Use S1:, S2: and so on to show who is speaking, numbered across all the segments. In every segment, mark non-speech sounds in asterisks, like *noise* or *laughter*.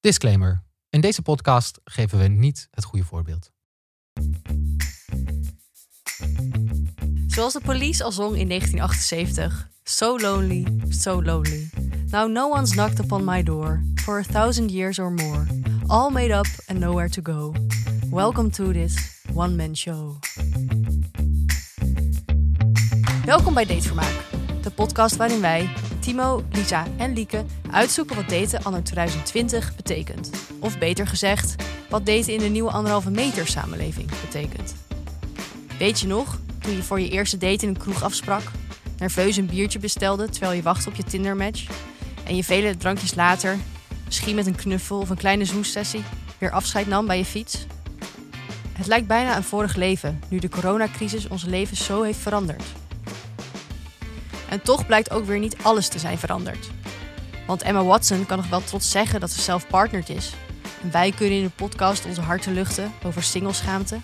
S1: Disclaimer. In deze podcast geven we niet het goede voorbeeld.
S2: Zoals de police al zong in 1978. So lonely, so lonely. Now no one's knocked upon my door for a thousand years or more. All made up and nowhere to go. Welcome to this one-man show. Welkom bij Datevermaak. De podcast waarin wij, Timo, Lisa en Lieke, uitzoeken wat daten anno 2020 betekent. Of beter gezegd, wat daten in de nieuwe anderhalve meter samenleving betekent. Weet je nog, toen je voor je eerste date in een kroeg afsprak, nerveus een biertje bestelde terwijl je wacht op je Tinder-match en je vele drankjes later, misschien met een knuffel of een kleine zoensessie, weer afscheid nam bij je fiets? Het lijkt bijna een vorig leven, nu de coronacrisis ons leven zo heeft veranderd. En toch blijkt ook weer niet alles te zijn veranderd. Want Emma Watson kan nog wel trots zeggen dat ze zelf partnered is. En wij kunnen in de podcast onze harten luchten over singleschaamte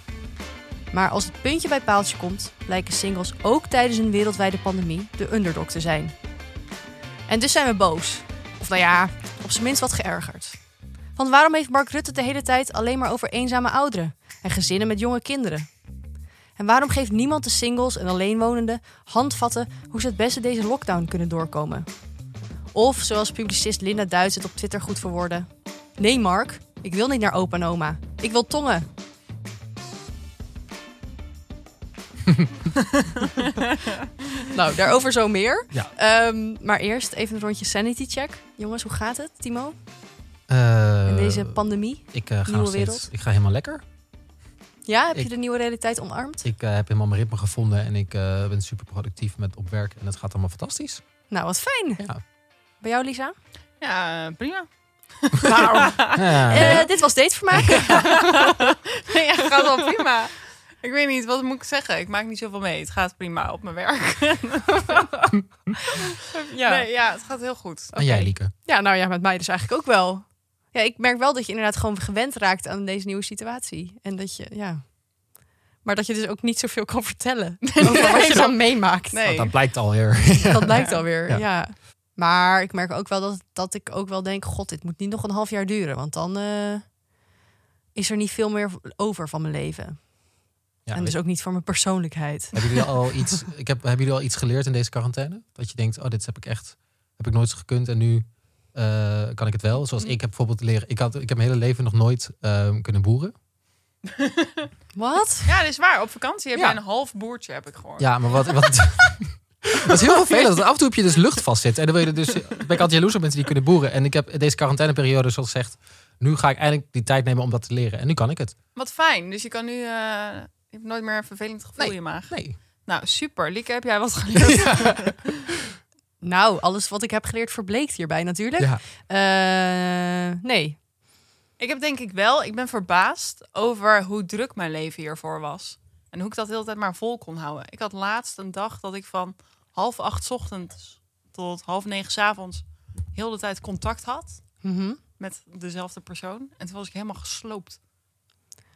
S2: maar als het puntje bij paaltje komt, blijken singles ook tijdens een wereldwijde pandemie de underdog te zijn. En dus zijn we boos. Of nou ja, op zijn minst wat geërgerd. Want waarom heeft Mark Rutte de hele tijd alleen maar over eenzame ouderen en gezinnen met jonge kinderen? En waarom geeft niemand de singles en alleenwonenden handvatten hoe ze het beste deze lockdown kunnen doorkomen? Of zoals publicist Linda Duits het op Twitter goed verwoordde: Nee, Mark, ik wil niet naar opa en oma. Ik wil tongen. Nou, daarover zo meer.
S1: Ja.
S2: Ehm, maar eerst even een rondje sanity check. Jongens, hoe gaat het, Timo?
S1: Eh,
S2: In deze pandemie?
S1: ik, eh, ga
S2: nieuwe
S1: nog steeds-
S2: wereld.
S1: ik ga helemaal lekker.
S2: Ja, heb
S1: ik-
S2: je de nieuwe realiteit omarmd?
S1: Ik eh, heb helemaal mijn ritme gevonden en ik eh, ben super productief met op werk. En het gaat allemaal fantastisch.
S2: Nou, wat fijn.
S1: Ja.
S2: Bij jou, Lisa?
S3: Ja, prima.
S1: *laughs* Ja.
S2: Eh, dit was date voor mij.
S3: Nee, *laughs* ja, gaat wel prima. *laughs* Ik weet niet, wat moet ik zeggen? Ik maak niet zoveel mee. Het gaat prima op mijn werk. *laughs* ja. Nee, ja, het gaat heel goed.
S1: En Oh, jij, Lieke?
S2: *laughs* ja, nou ja, met mij dus eigenlijk ook wel. Ja, ik merk wel dat je inderdaad gewoon gewend raakt aan deze nieuwe situatie. En dat je, ja... Maar dat je dus ook niet zoveel kan
S1: *laughs*
S2: vertellen over wat je dan meemaakt.
S1: Want
S3: Nee.
S1: dat blijkt *laughs* alweer.
S2: *laughs* Dat blijkt alweer,
S1: Ja.
S2: ja. Maar ik merk ook wel dat, dat ik ook wel denk... God, dit moet niet nog een half jaar duren. Want dan eh, is er niet veel meer over van mijn leven.
S1: Ja,
S2: en dus ook niet van mijn persoonlijkheid.
S1: Hebben jullie
S2: *laughs*
S1: al iets, ik heb, hebben jullie al iets geleerd in deze quarantaine? Dat je denkt, oh, dit heb ik echt heb ik nooit gekund en nu eh, kan ik het wel.
S2: Mm.
S1: Zoals ik heb bijvoorbeeld leren, ik, had, ik heb mijn hele leven nog nooit eh, kunnen boeren.
S2: Wat?
S3: Ja, dat is waar. Op vakantie heb
S1: Ja.
S3: je een half boertje, heb ik gehoord.
S1: Ja, maar wat... wat *laughs* Dat is heel vervelend. Want af en toe heb je dus lucht vastzitten. En dan wil je dus... Ik ben ik altijd jaloers op mensen die kunnen boeren. En ik heb deze quarantaineperiode zoals gezegd... Nu ga ik eindelijk die tijd nemen om dat te leren. En nu kan ik het.
S3: Wat fijn. Dus je kan nu... eh, je hebt nooit meer een vervelend gevoel
S1: Nee.
S3: in je maag.
S1: Nee.
S3: Nou, super. Lieke, heb jij wat
S1: *laughs*
S3: geleerd?
S2: Nou, alles wat ik heb geleerd verbleekt hierbij natuurlijk.
S1: Ja.
S2: Eh, nee.
S3: Ik heb denk ik wel... Ik ben verbaasd over hoe druk mijn leven hiervoor was. En hoe ik dat de hele tijd maar vol kon houden. Ik had laatst een dag dat ik van half acht 's ochtends tot half negen 's avonds... heel de tijd contact had
S2: Mhm.
S3: met dezelfde persoon. En toen was ik helemaal gesloopt.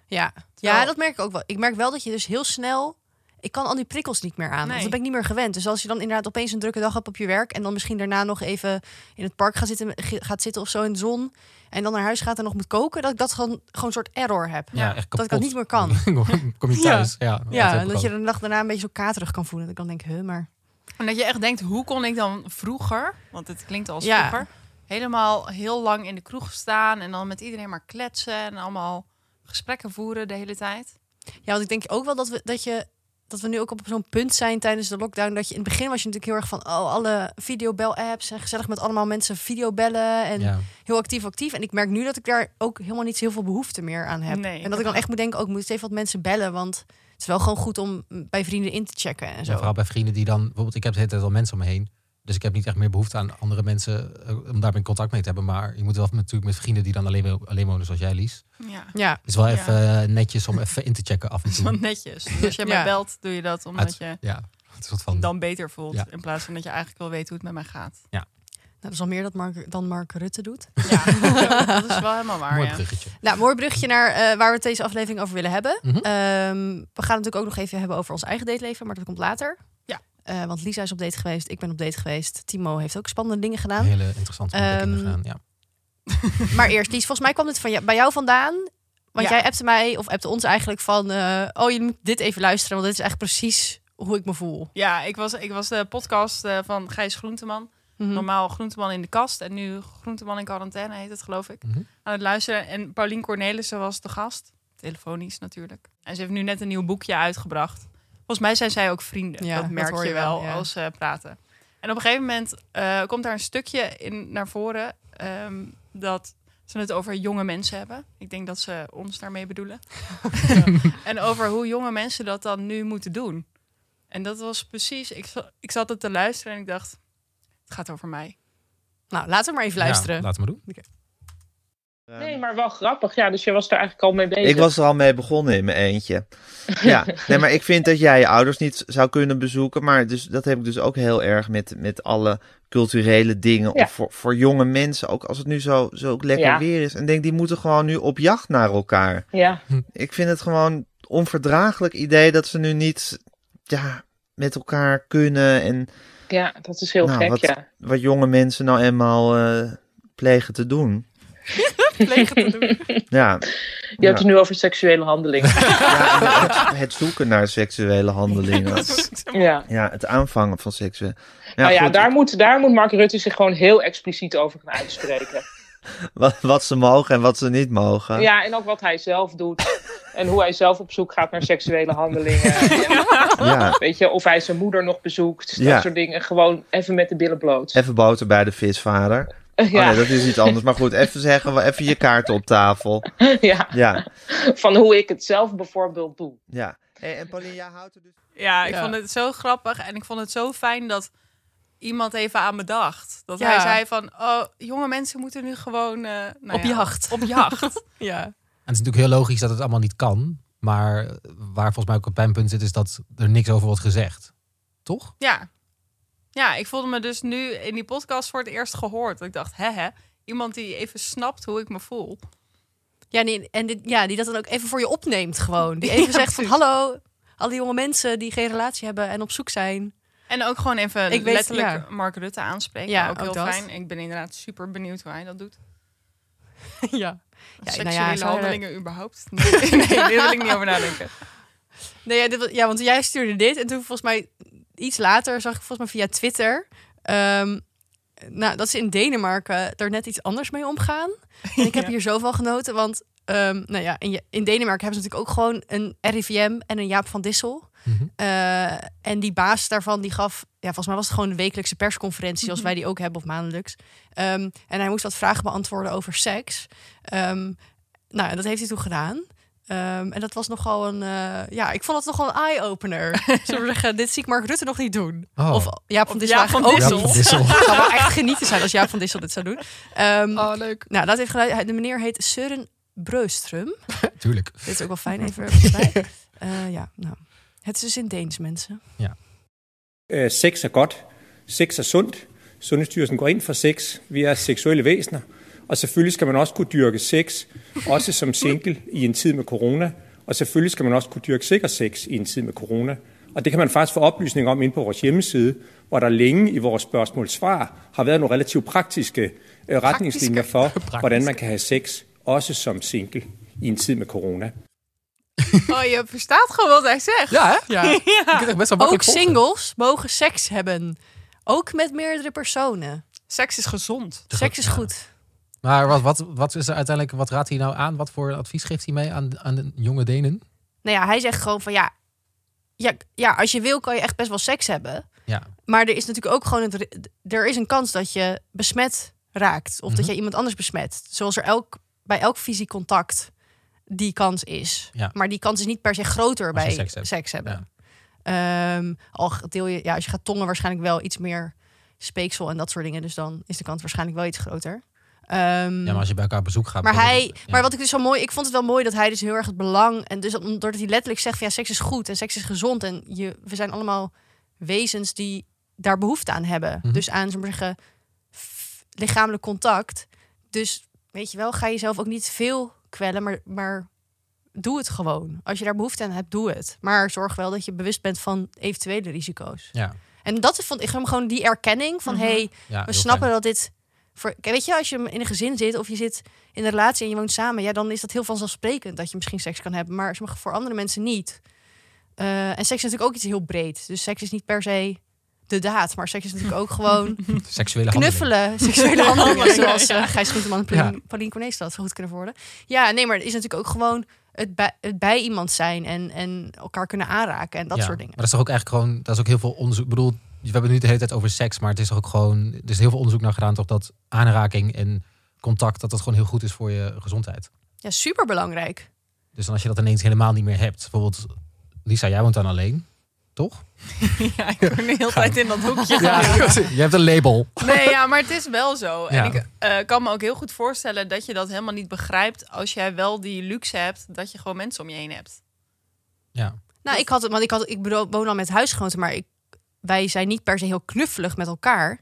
S2: Ja.
S3: Terwijl-
S2: ja, dat merk ik ook wel. Ik merk wel dat je dus heel snel... Ik kan al die prikkels niet meer aan, want
S3: Nee.
S2: dat ben ik niet meer gewend. Dus als je dan inderdaad opeens een drukke dag hebt op je werk... en dan misschien daarna nog even in het park gaat zitten, ge- gaat zitten of zo in de zon... en dan naar huis gaat en nog moet koken... dat ik dat gewoon, gewoon een soort error heb.
S1: Ja, echt
S2: dat
S1: kapot.
S2: ik dat niet meer kan.
S1: *laughs* Kom je
S2: Ja.
S1: thuis. Ja, dat heb
S2: Ja,
S1: ik
S2: en dat
S1: ook.
S2: je de dag daarna een beetje zo katerig kan voelen. Dat ik dan denk, huh, maar...
S3: En dat je echt denkt, hoe kon ik dan vroeger... want het klinkt als
S2: Ja.
S3: vroeger... helemaal heel lang in de kroeg staan... en dan met iedereen maar kletsen... en allemaal gesprekken voeren de hele tijd.
S2: Ja, want ik denk ook wel dat we, dat je, dat we nu ook op zo'n punt zijn tijdens de lockdown. Dat je in het begin was je natuurlijk heel erg van oh, alle videobel-apps en gezellig met allemaal mensen videobellen en
S1: Ja.
S2: heel actief actief. En ik merk nu dat ik daar ook helemaal niet zo heel veel behoefte meer aan heb.
S3: Nee,
S2: en dat ik dan echt moet denken, ook ik moet eens even wat mensen bellen. Want het is wel gewoon goed om bij vrienden in te checken en
S1: En
S2: zo.
S1: vooral bij vrienden die dan... Bijvoorbeeld, ik heb de hele tijd al mensen om me heen. Dus ik heb niet echt meer behoefte aan andere mensen... eh, om daarmee contact mee te hebben. Maar je moet wel natuurlijk met vrienden die dan alleen, alleen wonen zoals jij, Lies.
S3: Ja.
S2: ja.
S1: Het is wel
S3: Ja.
S1: even eh, netjes om even in te checken af en
S2: *laughs*
S3: Wel
S1: toe.
S3: netjes. Dus als je
S2: Ja.
S3: mij belt, doe je dat omdat
S1: Uit-
S3: je
S1: Ja, het is wat van...
S3: dan beter voelt.
S1: Ja.
S3: In plaats van dat je eigenlijk wil weten hoe het met mij
S1: *laughs*
S3: gaat.
S2: Nou, dat is al meer dat Mark, dan Mark Rutte doet.
S3: Ja, *laughs* dat is wel helemaal waar.
S1: Mooi
S3: ja.
S1: bruggetje.
S2: Nou, mooi bruggetje naar eh, waar we het deze aflevering over willen hebben.
S1: Mhm.
S2: Ehm, we gaan het natuurlijk ook nog even hebben over ons eigen dateleven, maar dat komt later.
S3: Ja.
S2: Eh, want Lisa is op date geweest, ik ben op date geweest. Timo heeft ook spannende dingen gedaan.
S1: Hele interessante dingen
S2: Ehm,
S1: gedaan, ja.
S2: Maar eerst, Lies, volgens mij kwam het van jou- bij jou vandaan. Want
S3: Ja.
S2: jij appte mij, of appte ons eigenlijk van... eh, oh, je moet dit even luisteren, want dit is echt precies hoe ik me voel.
S3: Ja, ik was, ik was de podcast eh, van Gijs Groenteman.
S2: Mhm.
S3: Normaal Groenteman in de kast en nu Groenteman in quarantaine heet het, geloof ik.
S1: Mhm.
S3: Aan het luisteren. En Paulien Cornelissen was de gast. Telefonisch natuurlijk. En ze heeft nu net een nieuw boekje uitgebracht. Volgens mij zijn zij ook vrienden.
S2: Ja,
S3: dat
S2: dat
S3: merk
S2: hoor
S3: je
S2: je
S3: wel
S2: wel, ja.
S3: als ze praten. En op een gegeven moment eh, komt daar een stukje in naar voren ehm, dat ze het over jonge mensen hebben. Ik denk dat ze ons daarmee bedoelen. Ja. En over hoe jonge mensen dat dan nu moeten doen. En dat was precies, ik, za- ik zat het te luisteren en ik dacht, het gaat over mij.
S2: Nou, laten we maar even luisteren.
S1: Ja, laten we doen.
S3: Ehm,
S4: Nee, maar wel grappig. Ja, dus je was daar eigenlijk al mee bezig.
S5: Ik was er al mee begonnen in mijn eentje. Ja, nee, maar ik vind dat jij je ouders niet zou kunnen bezoeken. Maar dus, dat heb ik dus ook heel erg met, met alle culturele dingen.
S4: Ja.
S5: Of voor, voor jonge mensen, ook als het nu zo, zo lekker
S4: Ja.
S5: weer is. En denk, die moeten gewoon nu op jacht naar elkaar.
S4: Ja,
S5: Ik vind het gewoon onverdraaglijk idee dat ze nu niet ja, met elkaar kunnen. En
S4: ja, dat is heel
S5: Nou,
S4: gek,
S5: wat-
S4: ja.
S5: wat jonge mensen nou eenmaal eh, plegen te doen.
S3: *laughs* Plegen te doen.
S5: Ja,
S4: *laughs* Je hebt het nu over seksuele handelingen.
S5: *laughs* Ja, het, het zoeken naar seksuele handelingen.
S4: ja.
S5: Ja, het aanvangen van seksueel.
S4: nou ja,
S5: goed,
S4: daar moet, daar moet Mark Rutte zich gewoon heel expliciet over gaan uitspreken.
S5: wat, wat ze mogen en wat ze niet mogen.
S4: Ja, en ook wat hij zelf doet. En hoe hij zelf op zoek gaat naar seksuele handelingen.
S5: *laughs* Ja,
S4: Weet je, of hij zijn moeder nog bezoekt. Dat
S5: Ja.
S4: soort dingen. Gewoon even met de billen bloot.
S5: Even boter bij de visvader.
S4: *laughs* ja,
S5: Oh nee, dat is iets anders. Maar goed, even zeggen, wel even je kaarten op tafel.
S4: *laughs* ja,
S5: Ja,
S4: van hoe ik het zelf bijvoorbeeld doe.
S5: ja. Hey, en Pauline, jij houdt er dus...
S3: Ja, ik
S2: Ja.
S3: vond het zo grappig en ik vond het zo fijn dat iemand even aan me dacht. Dat
S2: Ja.
S3: hij zei van, oh, jonge mensen moeten nu gewoon... eh, nou
S2: Op
S3: ja,
S2: jacht.
S3: Op jacht.
S2: *laughs* Ja.
S1: En het is natuurlijk heel logisch dat het allemaal niet kan. Maar waar volgens mij ook een pijnpunt zit, is dat er niks over wordt gezegd. Toch?
S3: ja. Ja, ik voelde me dus nu in die podcast voor het eerst gehoord. Ik dacht, hè hè, iemand die even snapt hoe ik me voel.
S2: Ja, nee, en dit, ja, die dat dan ook even voor je opneemt gewoon. Die even
S3: *laughs* Ja,
S2: zegt van,
S3: precies.
S2: hallo, al die jonge mensen die geen relatie hebben en op zoek
S3: *laughs*
S2: zijn.
S3: En ook gewoon even
S2: Ik weet-
S3: letterlijk
S2: ja.
S3: Mark Rutte aanspreken.
S2: Ja,
S3: ook,
S2: ook
S3: heel
S2: dat.
S3: fijn. Ik ben inderdaad super benieuwd hoe hij dat doet.
S2: ja. Ja, nou
S3: Seksuele
S2: ja, zou je-
S3: handelingen überhaupt? *laughs* Nee, nee, daar wil ik niet over nadenken.
S2: Nee, ja, dit was- ja, want jij stuurde dit en toen volgens mij iets later zag ik volgens mij via Twitter... ehm, nou, dat ze in Denemarken er net iets anders mee omgaan.
S1: *laughs*
S2: En ik heb hier zoveel genoten, want ehm, nou ja, in, je- in Denemarken hebben ze natuurlijk ook gewoon een RIVM en een Jaap van Dissel.
S1: Mhm.
S2: Eh, en die baas daarvan, die gaf, ja, volgens mij was het gewoon een wekelijkse persconferentie, zoals
S1: Mhm.
S2: wij die ook hebben, of maandelijks. Ehm, en hij moest wat vragen beantwoorden over seks. Ehm, nou, en dat heeft hij toen gedaan. Ehm, en dat was nogal een, eh, ja, ik vond dat nogal een
S1: *laughs*
S2: eye-opener. Zullen we zeggen, dit zie ik Mark Rutte nog niet doen.
S1: Oh.
S2: Of Jaap van
S3: Of
S2: Dissel
S3: Jaap van
S2: eigenlijk ook
S1: Ja,
S3: Dissel.
S2: niet.
S1: Dissel.
S2: *laughs* Het zou wel echt genieten zijn als Jaap van Dissel dit zou doen. Ehm,
S3: leuk.
S2: nou, dat heeft geluid. De meneer heet Søren Breustrum.
S1: Tuurlijk.
S2: Dit is ook wel fijn
S3: *laughs*
S2: even erbij. Eh, ja, nou. Het is dus in Deens, mensen.
S6: Øh, Sex er godt. Sex er sundt. Sundhedsstyrelsen går ind for sex. Vi er seksuelle væsener. Og selvfølgelig skal man også kunne dyrke sex, også som single i en tid med corona. Og selvfølgelig skal man også kunne dyrke sikker sex i en tid med corona. Og det kan man faktisk få oplysning om inde på vores hjemmeside, hvor der længe i vores spørgsmål-svar har været nogle relativt praktiske øh, retningslinjer for, hvordan man kan have sex, også som single i en tid med corona.
S3: Oh, je verstaat gewoon wat hij zegt.
S1: Ja, hè? Ja. Ik kan het echt best wel
S2: Ook
S1: makkelijk volgen.
S2: singles mogen seks hebben. Ook met meerdere personen.
S3: Seks is gezond.
S2: Seks is goed.
S1: Maar wat, wat, wat is er uiteindelijk, wat raadt hij nou aan? Wat voor advies geeft hij mee aan, aan de jonge Denen?
S2: Nou ja, hij zegt gewoon van ja, ja, ja, als je wil kan je echt best wel seks hebben.
S1: Ja.
S2: Maar er is natuurlijk ook gewoon, het, ri- er is een kans dat je besmet raakt. Of dat
S1: Mhm.
S2: je iemand anders besmet. Zoals er elk, bij elk fysiek contact die kans is.
S1: Ja.
S2: Maar die kans is niet per se groter
S1: Als je
S2: bij
S1: seks hebt.
S2: hebben. Ehm, al deel je, ja, als je gaat tongen, waarschijnlijk wel iets meer speeksel en dat soort dingen. Dus dan is de kans waarschijnlijk wel iets groter. Ehm,
S1: Ja, maar als je bij elkaar op bezoek gaat.
S2: maar
S1: dan-
S2: hij,
S1: ja.
S2: maar wat ik dus zo mooi, ik vond het wel mooi dat hij dus heel erg het belang en dus om- doordat hij letterlijk zegt van ja, seks is goed en seks is gezond en je, we zijn allemaal wezens die daar behoefte aan hebben.
S1: Mhm.
S2: Dus aan zullen we zeggen f- lichamelijk contact. Dus weet je wel, ga jezelf ook niet veel kwellen, maar, maar doe het gewoon. Als je daar behoefte aan hebt, doe het. Maar zorg wel dat je bewust bent van eventuele risico's.
S1: Ja,
S2: En dat vond ik hem gewoon die erkenning van
S3: Mhm.
S2: hey,
S1: ja,
S2: we snappen dat dit Voor, kijk, weet je, als je in een gezin zit of je zit in een relatie en je woont samen, ja, dan is dat heel vanzelfsprekend dat je misschien seks kan hebben, maar sommige- voor andere mensen niet. Eh, en seks is natuurlijk ook iets heel breed. Dus seks is niet per se de daad, maar seks is natuurlijk
S1: *laughs*
S2: ook gewoon
S1: Seksuele handeling. *laughs*
S2: knuffelen, seksuele handelingen,
S3: handelingen,
S2: zoals eh, Gijs Groenteman en Paulien,
S1: Ja.
S2: Paulien Cornelis dat zo goed kunnen worden. Ja, nee, maar het is natuurlijk ook gewoon het bij, het bij iemand zijn en, en elkaar kunnen aanraken en dat
S1: Ja,
S2: soort dingen.
S1: Maar dat is toch ook eigenlijk gewoon, dat is ook heel veel onderzoek. Ik bedoel, we hebben het nu de hele tijd over seks, maar het is toch ook gewoon, er is heel veel onderzoek naar gedaan, toch dat aanraking en contact, dat dat gewoon heel goed is voor je gezondheid.
S2: Ja, super belangrijk.
S1: Dus dan als je dat ineens helemaal niet meer hebt, bijvoorbeeld, Lisa, jij woont dan alleen, toch?
S3: *laughs* Ja, ik ben de hele tijd in dat hoekje.
S1: je hebt een label.
S3: Nee, ja, maar het is wel zo. En
S1: Ja.
S3: ik eh, kan me ook heel goed voorstellen dat je dat helemaal niet begrijpt als jij wel die luxe hebt dat je gewoon mensen om je heen hebt.
S1: Ja.
S2: Nou, ik had het, want ik, had, ik bedo- woon al met huisgenoten, maar ik, wij zijn niet per se heel knuffelig met elkaar.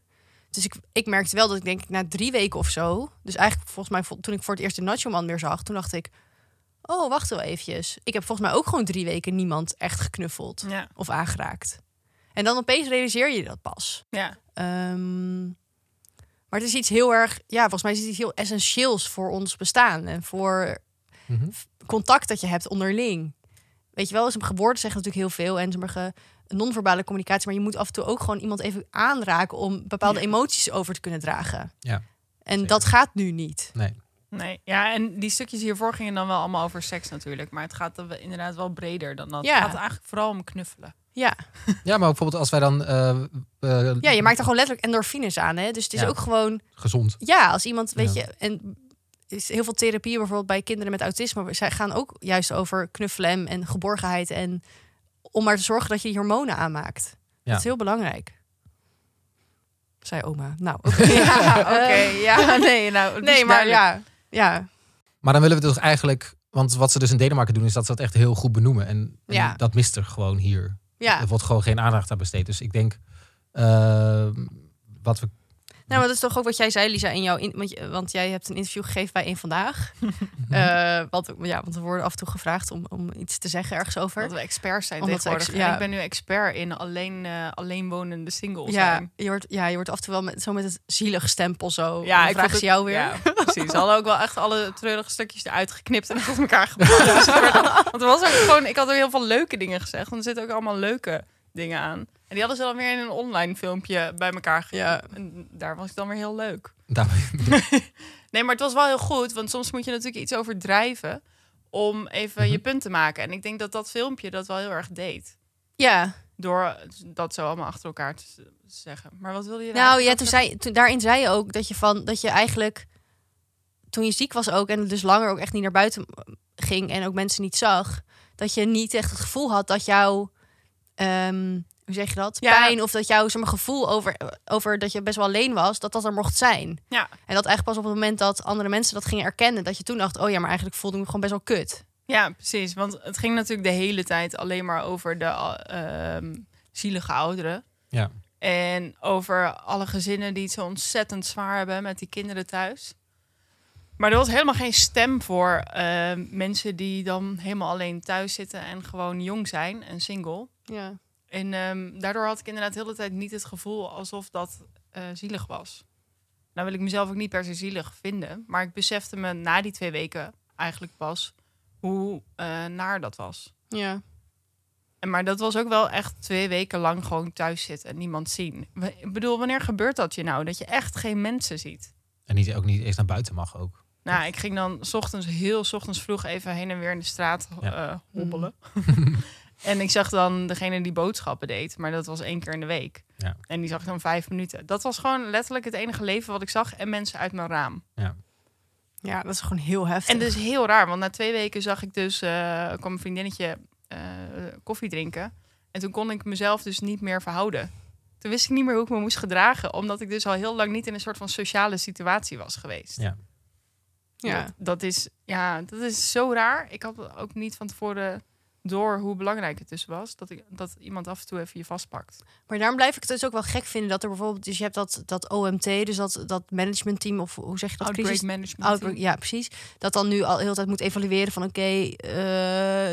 S2: Dus ik, ik merkte wel dat ik denk ik na drie weken of zo, dus eigenlijk volgens mij vo- toen ik voor het eerst de Nacho Man weer zag, toen dacht ik, oh wacht wel eventjes, ik heb volgens mij ook gewoon drie weken niemand echt geknuffeld
S3: Ja.
S2: of aangeraakt. En dan opeens realiseer je dat pas.
S3: Ja.
S2: Ehm, maar het is iets heel erg, ja, volgens mij is het iets heel essentieels voor ons bestaan en voor
S1: Mhm.
S2: contact dat je hebt onderling. Weet je wel, sommige woorden zeggen natuurlijk heel veel en sommige non-verbale communicatie, maar je moet af en toe ook gewoon iemand even aanraken om bepaalde
S3: Ja.
S2: emoties over te kunnen dragen.
S1: Ja,
S2: En
S1: zeker.
S2: dat gaat nu niet.
S1: Nee.
S3: Nee. Ja, en die stukjes hiervoor gingen dan wel allemaal over seks natuurlijk. Maar het gaat er wel- inderdaad wel breder dan dat.
S2: Ja.
S3: Het gaat eigenlijk vooral om knuffelen.
S2: Ja,
S1: Ja, maar ook bijvoorbeeld als wij dan eh, eh,
S2: ja je maakt er gewoon letterlijk endorfines aan, hè? Dus het is
S1: Ja.
S2: ook gewoon
S1: gezond.
S2: Ja, als iemand, weet
S1: Ja.
S2: je, en is heel veel therapieën bijvoorbeeld bij kinderen met autisme. Zij gaan ook juist over knuffelen en- en geborgenheid. En om maar te zorgen dat je die hormonen aanmaakt.
S1: Ja.
S2: Dat is heel belangrijk. Zei oma. Nou, oké.
S3: *laughs*
S2: *laughs* Ja,
S3: Oké,
S2: eh,
S3: *laughs* ja, nee, nou. het is
S2: Nee, maar
S3: duidelijk.
S2: ja. Ja,
S1: Maar dan willen we dus eigenlijk, want wat ze dus in Denemarken doen, is dat ze dat echt heel goed benoemen. En, en
S2: Ja.
S1: dat mist er gewoon hier.
S2: ja.
S1: Er wordt gewoon geen aandacht aan besteed. Dus ik denk, eh, wat we.
S2: Nou, maar dat is toch ook wat jij zei, Lisa, in jouw in, want, je- want jij hebt een interview gegeven bij een vandaag. Eh, want, ja, want we worden af en toe gevraagd om, om iets te zeggen ergens over.
S3: Dat we experts zijn
S2: Omdat we
S3: tegenwoordig.
S2: ex- ja.
S3: En ik ben nu expert in alleen, eh, alleen wonende singles
S2: Ja,
S3: zijn.
S2: je wordt, ja, je wordt af en toe wel met, zo met het zielig stempel zo.
S3: Ja,
S2: Ja,
S3: ik
S2: ik vraag
S3: vond
S2: Oh, ze jou weer.
S3: Ja, precies. Ze hadden ook wel echt alle treurige stukjes eruit geknipt en
S2: *laughs*
S3: uit elkaar gebracht. Dus er werd- want er was ook gewoon, ik had ook heel veel leuke dingen gezegd. Want er zitten ook allemaal leuke dingen aan. En die hadden ze dan weer in een online filmpje bij elkaar
S2: Ja.
S3: geknipt. En daar was ik dan weer heel leuk.
S1: Daar,
S3: Nee, maar het was wel heel goed. Want soms moet je natuurlijk iets overdrijven om even je punt te maken. En ik denk dat dat filmpje dat wel heel erg deed.
S2: Ja,
S3: Door dat zo allemaal achter elkaar te z- zeggen. Maar wat wilde je daar
S2: nou ja,
S3: eigenlijk
S2: toen
S3: zeggen?
S2: zei, toen, daarin zei je ook dat je van dat je eigenlijk toen je ziek was ook en dus langer ook echt niet naar buiten ging en ook mensen niet zag, dat je niet echt het gevoel had dat jouw ehm, hoe zeg je dat?
S3: Ja.
S2: Pijn of dat jouw zeg maar, gevoel over, over dat je best wel alleen was, dat dat er mocht zijn.
S3: Ja.
S2: En dat eigenlijk pas op het moment dat andere mensen dat gingen erkennen, dat je toen dacht, oh ja, maar eigenlijk voelde ik me gewoon best wel kut.
S3: Ja, precies. Want het ging natuurlijk de hele tijd alleen maar over de eh, ehm, zielige ouderen.
S1: *laughs* Ja.
S3: En over alle gezinnen die het zo ontzettend zwaar hebben met die kinderen thuis. Maar er was helemaal geen stem voor eh, mensen die dan helemaal alleen thuis zitten en gewoon jong zijn en single.
S2: Ja.
S3: En ehm, daardoor had ik inderdaad de hele tijd niet het gevoel alsof dat eh, zielig was. Nou wil ik mezelf ook niet per se zielig vinden. Maar ik besefte me na die twee weken eigenlijk pas hoe eh, naar dat was.
S2: Ja.
S3: En maar dat was ook wel echt twee weken lang gewoon thuis zitten en niemand zien. W- Ik bedoel, wanneer gebeurt dat je nou? Dat je echt geen mensen ziet.
S1: en niet, ook niet eens naar buiten mag ook.
S3: Nou, ik ging dan 's ochtends heel 's ochtends vroeg even heen en weer in de straat
S1: Ja. Mm.
S3: eh, hobbelen.
S1: *laughs*
S3: en ik zag dan degene die boodschappen deed, maar dat was één keer in de week.
S1: Ja.
S3: En die zag ik dan vijf minuten. Dat was gewoon letterlijk het enige leven wat ik zag en mensen uit mijn raam.
S2: Ja, dat is gewoon heel heftig.
S3: En dus heel raar, want na twee weken zag ik dus, eh kwam een vriendinnetje eh, koffie drinken. En toen kon ik mezelf dus niet meer verhouden. Toen wist ik niet meer hoe ik me moest gedragen, omdat ik dus al heel lang niet in een soort van sociale situatie was geweest.
S1: Ja.
S2: ja.
S3: Dat, dat is, ja, dat is zo raar. Ik had ook niet van tevoren door hoe belangrijk het dus was, dat, ik, dat iemand af en toe even je vastpakt.
S2: Maar daarom blijf ik het dus ook wel gek vinden dat er bijvoorbeeld, dus je hebt dat, dat OMT, dus dat, dat managementteam, of hoe zeg je dat?
S3: Outbreak
S2: crisis-
S3: management.
S2: Outbreak, ja, precies. Dat dan nu al heel de tijd moet evalueren van oké, eh,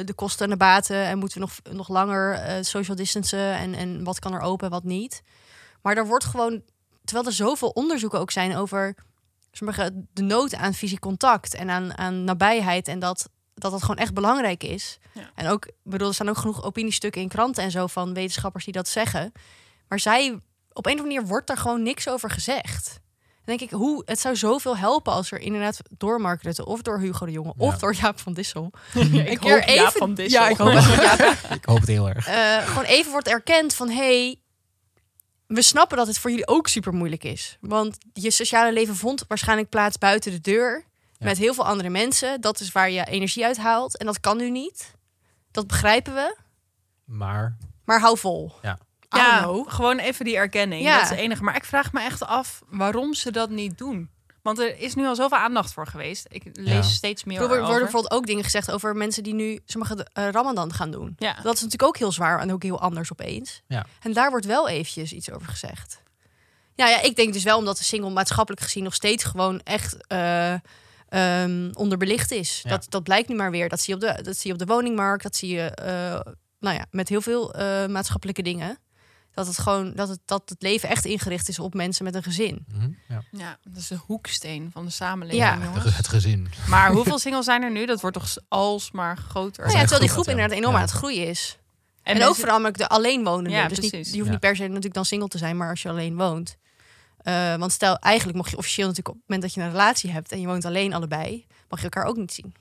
S2: de kosten en de baten en moeten we nog, nog langer eh, social distancen en, en wat kan er open en wat niet. Maar er wordt gewoon, terwijl er zoveel onderzoeken ook zijn over sommige de nood aan fysiek contact en aan, aan nabijheid en dat, dat dat gewoon echt belangrijk is.
S3: Ja.
S2: En ook, ik bedoel, er staan ook genoeg opiniestukken in kranten en zo van wetenschappers die dat zeggen. Maar zij, op een of andere manier wordt daar gewoon niks over gezegd. Dan denk ik, hoe, het zou zoveel helpen als er inderdaad door Mark Rutte of door Hugo de Jonge
S1: Ja.
S2: of door Jaap van
S3: *laughs*
S2: Dissel.
S3: ik
S2: keer
S3: hoop Jaap
S2: even-
S3: van Dissel.
S2: Ja, ik hoop echt
S3: *laughs*
S2: dat Jaap
S1: *laughs* Ik hoop het heel erg.
S2: eh, gewoon even wordt erkend van hey, we snappen dat het voor jullie ook super moeilijk is. Want je sociale leven vond waarschijnlijk plaats buiten de deur.
S1: Ja.
S2: Met heel veel andere mensen. Dat is waar je energie uit haalt. En dat kan nu niet. Dat begrijpen we.
S1: Maar
S2: Maar hou vol.
S1: Ja.
S2: I
S3: Ja,
S2: don't know.
S3: gewoon even die erkenning.
S2: Ja.
S3: Dat is het enige. Maar ik vraag me echt af waarom ze dat niet doen. Want er is nu al zoveel aandacht voor geweest. Ik lees
S1: Ja.
S3: steeds meer
S2: Er worden
S3: over.
S2: bijvoorbeeld ook dingen gezegd over mensen die nu sommige eh, Ramadan gaan doen.
S3: Ja.
S2: Dat is natuurlijk ook heel zwaar en ook heel anders opeens.
S1: Ja.
S2: En daar wordt wel eventjes iets over gezegd. Ja, ja, ik denk dus wel omdat de single maatschappelijk gezien nog steeds gewoon echt eh, ehm, onderbelicht is.
S1: Ja.
S2: Dat, dat blijkt nu maar weer. Dat zie je op de, dat zie je op de woningmarkt. Dat zie je eh, nou ja, met heel veel eh, maatschappelijke dingen. Dat het, gewoon, dat, het, dat het leven echt ingericht is op mensen met een gezin.
S1: mhm, ja.
S3: Ja, dat is de hoeksteen van de samenleving,
S2: Ja.
S3: jongens.
S1: het gezin.
S3: Maar hoeveel singles zijn er nu? Dat wordt toch alsmaar groter.
S1: Dat
S2: Nou ja,
S1: echt
S2: terwijl die
S1: goed gaat,
S2: groep
S1: ja.
S2: inderdaad enorm
S1: Ja.
S2: aan het groeien is. En,
S3: En, ook
S2: ook vooral namelijk de alleenwonende.
S3: Ja,
S2: dus niet,
S3: precies.
S2: die hoeft
S1: Ja.
S2: niet per se natuurlijk dan single te zijn, maar als je alleen woont. Eh, want stel, eigenlijk mocht je officieel natuurlijk op het moment dat je een relatie hebt en je woont alleen allebei, mag je elkaar ook niet zien.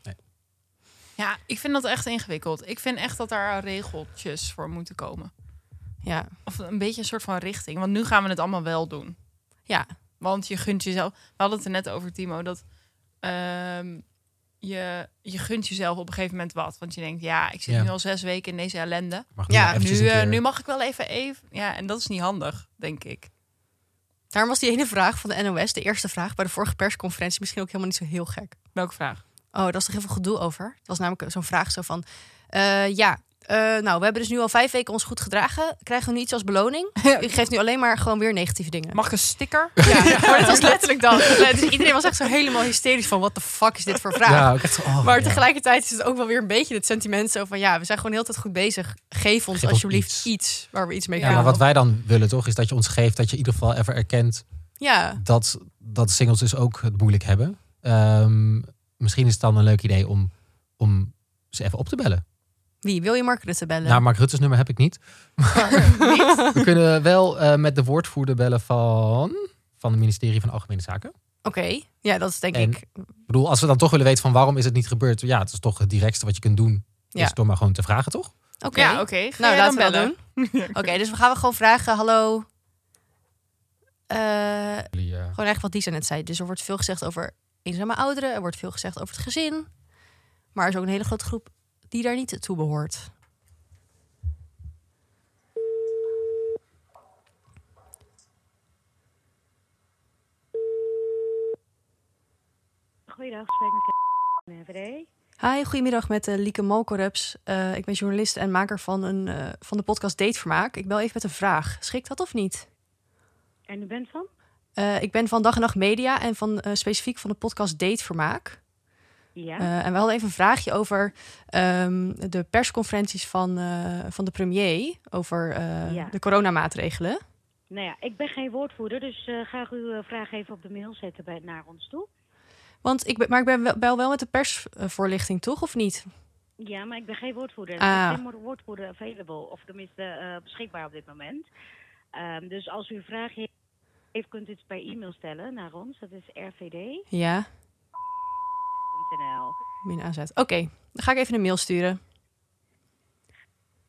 S3: Ja, ik vind dat echt ingewikkeld. Ik vind echt dat daar regeltjes voor moeten komen.
S2: Ja,
S3: Of een beetje een soort van richting. Want nu gaan we het allemaal wel doen.
S2: ja.
S3: Want je gunt jezelf. We hadden het er net over, Timo, dat ehm, je, je gunt jezelf op een gegeven moment wat. Want je denkt, ja, ik zit
S1: Ja.
S3: nu al zes weken in deze ellende.
S1: Mag
S2: Ja,
S1: nog
S3: Nu,
S1: eventjes een
S3: eh,
S1: keer-
S3: nu mag ik wel even even. Ja, en dat is niet handig, denk ik.
S2: Daarom was die ene vraag van de NOS, de eerste vraag bij de vorige persconferentie, misschien ook helemaal niet zo heel gek.
S3: Welke vraag?
S2: Oh, daar was toch heel veel gedoe over? Het was namelijk zo'n vraag zo van, eh, ja, eh, nou, we hebben dus nu al vijf weken ons goed gedragen. Krijgen we nu iets als
S3: *laughs*
S2: beloning? U geeft nu alleen maar gewoon weer negatieve dingen.
S3: Mag ik een
S1: *laughs*
S3: sticker?
S2: Ja, maar dat was letterlijk *laughs* dan. Dus iedereen was echt zo helemaal hysterisch van... wat de fuck is dit voor vraag?
S1: Ja, ook echt, zo, oh,
S2: maar
S1: ja.
S2: tegelijkertijd is het ook wel weer een beetje het sentiment zo van... ja, we zijn gewoon heel tijd goed bezig. Geef ons
S1: Geef ons
S2: alsjeblieft iets.
S1: iets.
S2: waar we iets mee
S3: Ja,
S1: Ja,
S2: kunnen.
S1: maar wat wij dan willen toch, is dat je ons geeft dat je in ieder geval even erkent
S2: Ja,
S1: dat, dat singles dus ook het moeilijk hebben. Ehm, misschien is het dan een leuk idee om, om ze even op te bellen.
S2: wie? Wil je Mark Rutte bellen?
S1: Nou, Mark Rutte's nummer heb ik
S2: *laughs*
S1: niet. We kunnen wel eh, met de woordvoerder bellen van, van het ministerie van Algemene Zaken.
S2: Oké, ja, dat is denk
S1: En-
S2: ik...
S1: Ik bedoel, als we dan toch willen weten van waarom is het niet gebeurd. Ja, het is toch het directste wat je kunt doen.
S2: Ja.
S1: Is door maar gewoon te vragen, toch?
S2: Oké,
S3: Ja, oké. Ga
S2: nou laten
S3: jij dan
S2: we dat
S3: bellen?
S2: doen. *laughs* Oké, dus we gaan we gewoon vragen, hallo... Eh,
S1: Jullie, eh,
S2: Gewoon echt wat Lisa net zei. Dus er wordt veel gezegd over eenzame ouderen. Er wordt veel gezegd over het gezin. Maar er is ook een hele grote groep die daar niet toe behoort.
S7: Goeiedag, spreek met Kevin VVD.
S2: Hi, goedemiddag met eh, Lieke Malkorups. Eh, ik ben journalist en maker van, een, eh, van de podcast Datevermaak. Ik bel even met een vraag. Schikt dat of niet?
S7: En u bent van?
S2: Eh, ik ben van Dag en Nacht Media en van, eh, specifiek van de podcast Datevermaak.
S7: Ja.
S2: Eh, en we hadden even een vraagje over ehm, de persconferenties van, eh, van de premier. Over eh,
S7: Ja.
S2: de coronamaatregelen.
S7: nou ja, ik ben geen woordvoerder, dus eh graag uw eh, vraag even op de mail zetten bij, naar ons toe.
S2: Want ik ben, maar ik ben wel, bel wel met de persvoorlichting, toch? Of niet?
S7: Ja, maar ik ben geen woordvoerder.
S2: Ah.
S7: Er is geen woordvoerder available, of tenminste eh, beschikbaar op dit moment. Ehm, dus als u een vraag he- heeft, kunt u het per e-mail stellen naar ons. Dat is rvd.nl.
S2: Ja, min aanzet. Oké, dan ga ik even een mail sturen.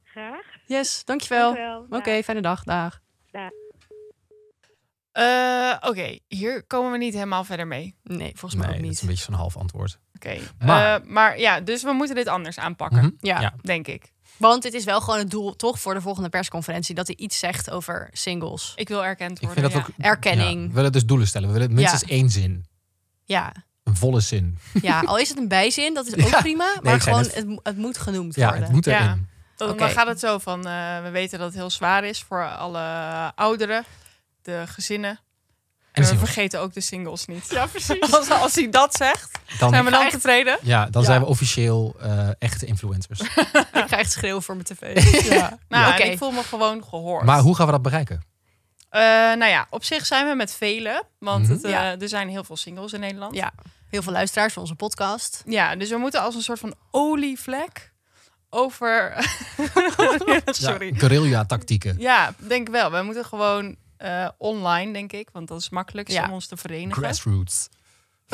S7: Graag.
S2: Yes, dankjewel.
S7: Dank u wel.
S2: Oké, fijne dag. Dag.
S3: Eh, Oké, hier komen we niet helemaal verder mee.
S2: Nee, volgens mij
S1: nee,
S2: ook
S1: dat
S2: niet.
S1: is een beetje zo'n half antwoord.
S3: Oké.
S1: Maar-
S3: Eh, maar ja, dus we moeten dit anders aanpakken,
S1: Mhm.
S2: Ja.
S1: Ja.
S3: denk ik.
S2: want het is wel gewoon het doel, toch, voor de volgende persconferentie... dat hij iets zegt over singles.
S3: Ik wil erkend
S1: Ik
S3: worden.
S1: vind dat
S3: ja.
S1: ook...
S2: Erkenning.
S1: Ja, we willen dus doelen stellen. We willen minstens
S2: Ja.
S1: één zin.
S2: Ja,
S1: Een volle zin.
S2: ja. al is het een bijzin, dat is ook
S1: *laughs* Ja.
S2: prima. Maar
S1: Nee, ik zei
S2: gewoon,
S1: net-
S2: het, mo- het moet genoemd
S1: Ja,
S2: worden.
S1: het moet
S3: Ja.
S1: erin.
S3: Dan,
S2: Oké.
S3: dan gaat het zo van, eh, we weten dat het heel zwaar is voor alle ouderen, de gezinnen.
S1: En
S3: En we
S1: dan,
S3: vergeten ook de singles niet. Ja, precies. *laughs* Als, als hij dat zegt, zijn we
S1: dan,
S3: dan getreden.
S1: ja, dan
S2: Ja.
S1: zijn we officieel eh, echte influencers.
S2: *laughs* Ik ga echt schreeuwen voor mijn tv. Dus ja.
S3: Nou, en
S2: Oké.
S3: ik voel me gewoon gehoord.
S1: maar hoe gaan we dat bereiken?
S3: Eh, nou ja, op zich zijn we met velen. Want
S1: Mhm.
S3: het, eh,
S2: Ja.
S3: er zijn heel veel singles in Nederland.
S2: Ja. Heel veel luisteraars van onze podcast.
S3: Ja, dus we moeten als een soort van olievlek over... *laughs* Sorry.
S1: Ja, guerrilla-tactieken.
S3: Ja, denk wel. We moeten gewoon eh, online, denk ik. Want dat is makkelijk
S2: Ja.
S3: om ons te verenigen.
S1: Grassroots.
S3: *laughs*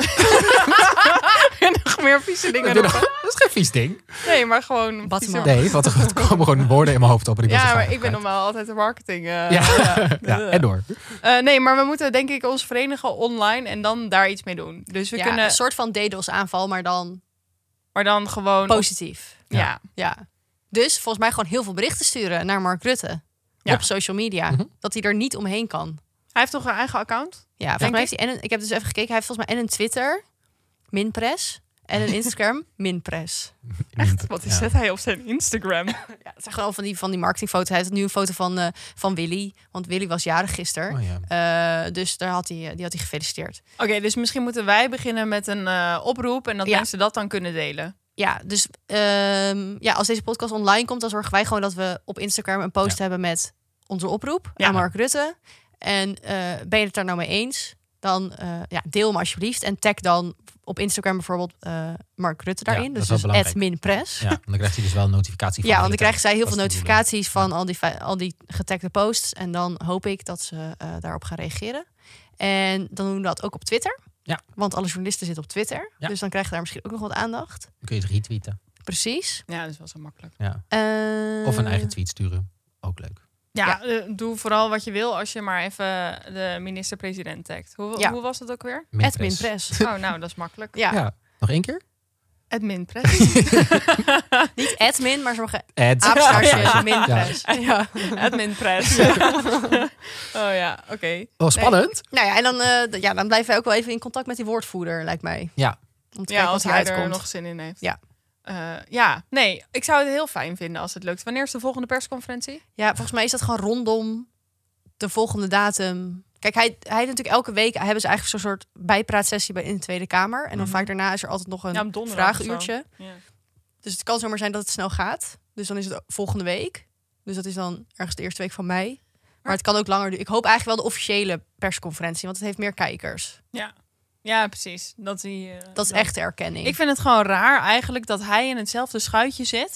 S3: en nog meer vieze dingen
S1: *laughs* Doe
S3: roepen.
S1: nou- Dat is geen vies ding.
S3: Nee, maar gewoon...
S2: Wat
S3: vieze-
S2: man.
S1: Nee, want er komen gewoon woorden in mijn hoofd op. En ik ben
S3: Ja,
S1: zo
S3: maar
S1: vaak
S3: ik ben
S1: kwijt.
S3: normaal altijd de marketing. eh,
S2: oh
S1: Ja. *laughs* Ja, en door.
S3: Eh, nee, maar we moeten denk ik ons verenigen online en dan daar iets mee doen. Dus we
S2: ja,
S3: kunnen...
S2: Een soort van DDoS-aanval, maar dan
S3: Maar dan gewoon...
S2: positief.
S3: ja.
S1: Ja.
S2: Ja. Dus volgens mij gewoon heel veel berichten sturen naar Mark Rutte.
S3: Ja.
S2: Op social media.
S1: Mhm.
S2: Dat hij er niet omheen kan.
S3: Hij heeft toch een eigen account?
S2: Ja, volgens mij heeft hij en een, ik heb dus even gekeken. Hij heeft volgens mij en een Twitter, Minpress, en
S1: *laughs*
S2: een Instagram, Minpress.
S1: Echt?
S3: Wat is zet hij op zijn Instagram?
S2: Ja, het zijn gewoon van die, van die marketingfoto's. Hij had nu een foto van, eh, van Willy, want Willy was jarig gisteren.
S1: Oh, ja.
S2: Eh, dus daar had hij, eh, die had hij gefeliciteerd.
S3: Oké, dus misschien moeten wij beginnen met een eh, oproep en dat
S2: Ja.
S3: mensen dat dan kunnen delen.
S2: Ja, dus ehm, ja, als deze podcast online komt, dan zorgen wij gewoon dat we op Instagram een post
S1: Ja.
S2: hebben met onze oproep
S3: Ja.
S2: aan Mark Rutte. En eh, ben je het daar nou mee eens? Dan eh, ja, deel hem alsjeblieft. En tag dan op Instagram bijvoorbeeld eh, Mark Rutte
S1: Ja,
S2: daarin.
S1: dat
S2: dus
S1: is wel
S2: dus
S1: belangrijk.
S2: @minpress.
S1: Ja, want dan krijgt hij dus wel een notificatie van
S2: Ja,
S1: de
S2: want dan
S1: hele
S2: krijgen zij heel
S1: Dat
S2: veel
S1: is de bedoeling.
S2: notificaties van al die, fa- al die getagde posts. En dan hoop ik dat ze eh, daarop gaan reageren. En dan doen we dat ook op Twitter.
S1: Ja.
S2: Want alle journalisten zitten op Twitter.
S1: Ja.
S2: Dus dan krijgen we daar misschien ook nog wat aandacht.
S1: Dan kun je het retweeten.
S2: Precies.
S3: Ja, dat is wel zo makkelijk.
S1: Ja.
S2: Eh,
S1: Of een eigen tweet sturen. Ook leuk.
S3: Ja,
S2: Ja.
S3: eh, doe vooral wat je wil als je maar even de minister-president tagt. Hoe,
S2: Ja.
S3: hoe was het ook weer?
S2: Het minpress.
S3: Oh, nou, dat is makkelijk.
S2: Ja,
S1: Ja. Nog één keer?
S3: Het minpress.
S2: niet admin,
S1: *laughs*
S2: maar sommige
S1: Ed.
S2: apenstaartje minpress.
S3: ja, het minpress. *laughs* oh ja, oké.
S1: Oh, spannend.
S2: Nou ja, en dan, eh, d- ja, dan blijven wij ook wel even in contact met die woordvoerder, lijkt mij.
S1: Ja.
S2: Om te
S3: Ja,
S2: kijken
S3: als
S2: wat
S3: hij
S2: eruit
S3: er
S2: komt.
S3: nog zin in heeft.
S2: Ja.
S3: Eh, ja, nee, ik zou het heel fijn vinden als het lukt. Wanneer is de volgende persconferentie?
S2: Ja, volgens mij is dat gewoon rondom de volgende datum. Kijk, hij, hij heeft natuurlijk elke week hebben ze eigenlijk zo'n soort bijpraatsessie bij in de Tweede Kamer. En dan vaak daarna is er altijd nog een
S3: Mhm. Ja, op donderdag of zo.
S2: vraaguurtje.
S3: Ja.
S2: Dus het kan zomaar zijn dat het snel gaat. Dus dan is het volgende week. Dus dat is dan ergens de eerste week van mei. Maar het kan ook langer duren. Ik hoop eigenlijk wel de officiële persconferentie, want het heeft meer kijkers.
S3: Ja, ja precies. Dat, die, eh,
S2: Dat is echt de erkenning.
S3: Ik vind het gewoon raar eigenlijk dat hij in hetzelfde schuitje zit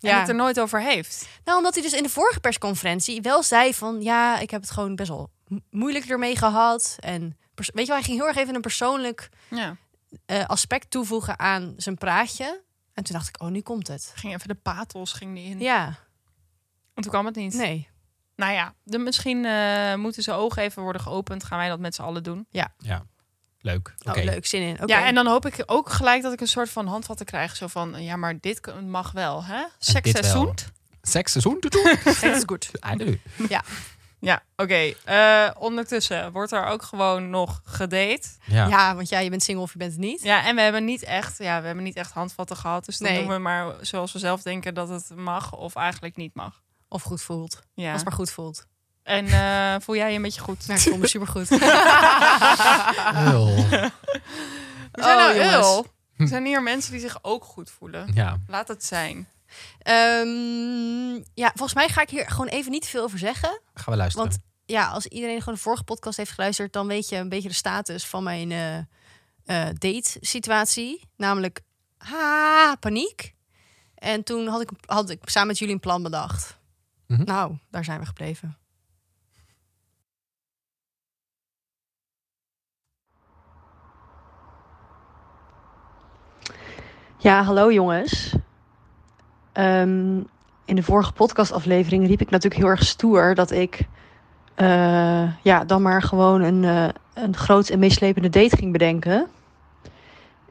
S3: en
S2: Ja.
S3: het er nooit over heeft.
S2: Nou, omdat hij dus in de vorige persconferentie wel zei van... ja, ik heb het gewoon best wel mo- moeilijk ermee gehad. En pers- weet je wel, hij ging heel erg even een persoonlijk
S3: Ja,
S2: eh, aspect toevoegen aan zijn praatje. En toen dacht ik, oh, nu komt het.
S3: ging even de pathos ging die in.
S2: Ja,
S3: Want toen kwam het niet.
S2: nee.
S3: Nou ja, de, misschien eh, moeten zijn ogen even worden geopend. Gaan wij dat met z'n allen doen.
S1: Leuk. Oké.
S2: Oh, leuk, zin in. Oké.
S3: Ja, en dan hoop ik ook gelijk dat ik een soort van handvatten krijg. Zo van, ja, maar dit k- mag wel, hè?
S1: dit wel.
S3: Seksseizoen.
S1: Seksseizoen te
S2: *laughs*
S1: doen.
S2: dat is goed.
S1: *laughs* Einde.
S3: Ja, oké. Eh, ondertussen wordt er ook gewoon nog gedate.
S1: Ja.
S2: Ja. want jij je bent single of je bent het niet.
S3: Ja, en we hebben niet echt, ja, we hebben niet echt handvatten gehad. Dus dan
S2: Nee.
S3: doen we maar zoals we zelf denken dat het mag of eigenlijk niet mag.
S2: Of goed voelt.
S3: Ja.
S2: Als het maar goed
S3: *laughs*
S2: voelt.
S3: En eh, voel jij je een beetje goed? Oh,
S2: Nou, ik voel me supergoed.
S3: *laughs*
S2: *laughs*
S1: Heel.
S3: We zijn nou
S2: Oh, jongens.
S3: eul. Er zijn hier mensen die zich ook goed voelen.
S1: Ja.
S3: Laat het zijn.
S2: Ehm, ja, volgens mij ga ik hier gewoon even niet veel over zeggen.
S1: Gaan we luisteren.
S2: Want ja, als iedereen gewoon de vorige podcast heeft geluisterd, dan weet je een beetje de status van mijn eh date situatie. Namelijk, ha, paniek. En toen had ik, had ik samen met jullie een plan bedacht.
S1: Mhm.
S2: Nou, daar zijn we gebleven. Ja, hallo jongens. Ehm, in de vorige podcastaflevering riep ik natuurlijk heel erg stoer dat ik eh, ja, dan maar gewoon een, eh, een groot en meeslepende date ging bedenken.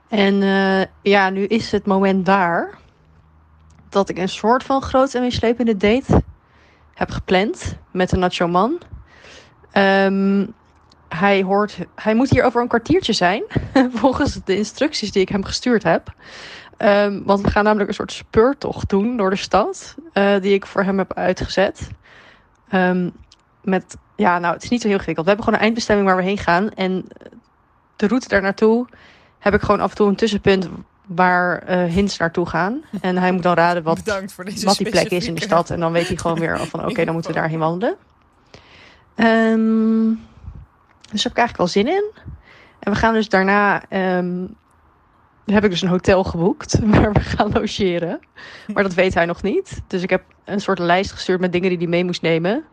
S2: En eh, ja, nu is het moment daar dat ik een soort van groot en meeslepende date heb gepland met een nacho man. Ehm, hij, hoort, hij moet hier over een kwartiertje zijn, *laughs* volgens de instructies die ik hem gestuurd heb. Ehm, want we gaan namelijk een soort speurtocht doen door de stad. eh, die ik voor hem heb uitgezet. Ehm, met, ja, nou, het is niet zo heel ingewikkeld. We hebben gewoon een eindbestemming waar we heen gaan. En eh, de route daar naartoe heb ik gewoon af en toe een tussenpunt waar eh, hints naartoe gaan. En hij moet dan raden wat,
S3: Bedankt voor deze
S2: wat die plek is in de
S3: specifieke-
S2: stad. En dan weet hij gewoon weer al van oké, dan moeten we daarheen wandelen.
S8: Ehm, dus daar heb ik eigenlijk wel zin in. En we gaan dus daarna. ehm, heb ik dus een hotel geboekt *laughs* waar we gaan logeren. Maar dat weet hij nog niet. Dus ik heb een soort lijst gestuurd met dingen die hij mee moest nemen.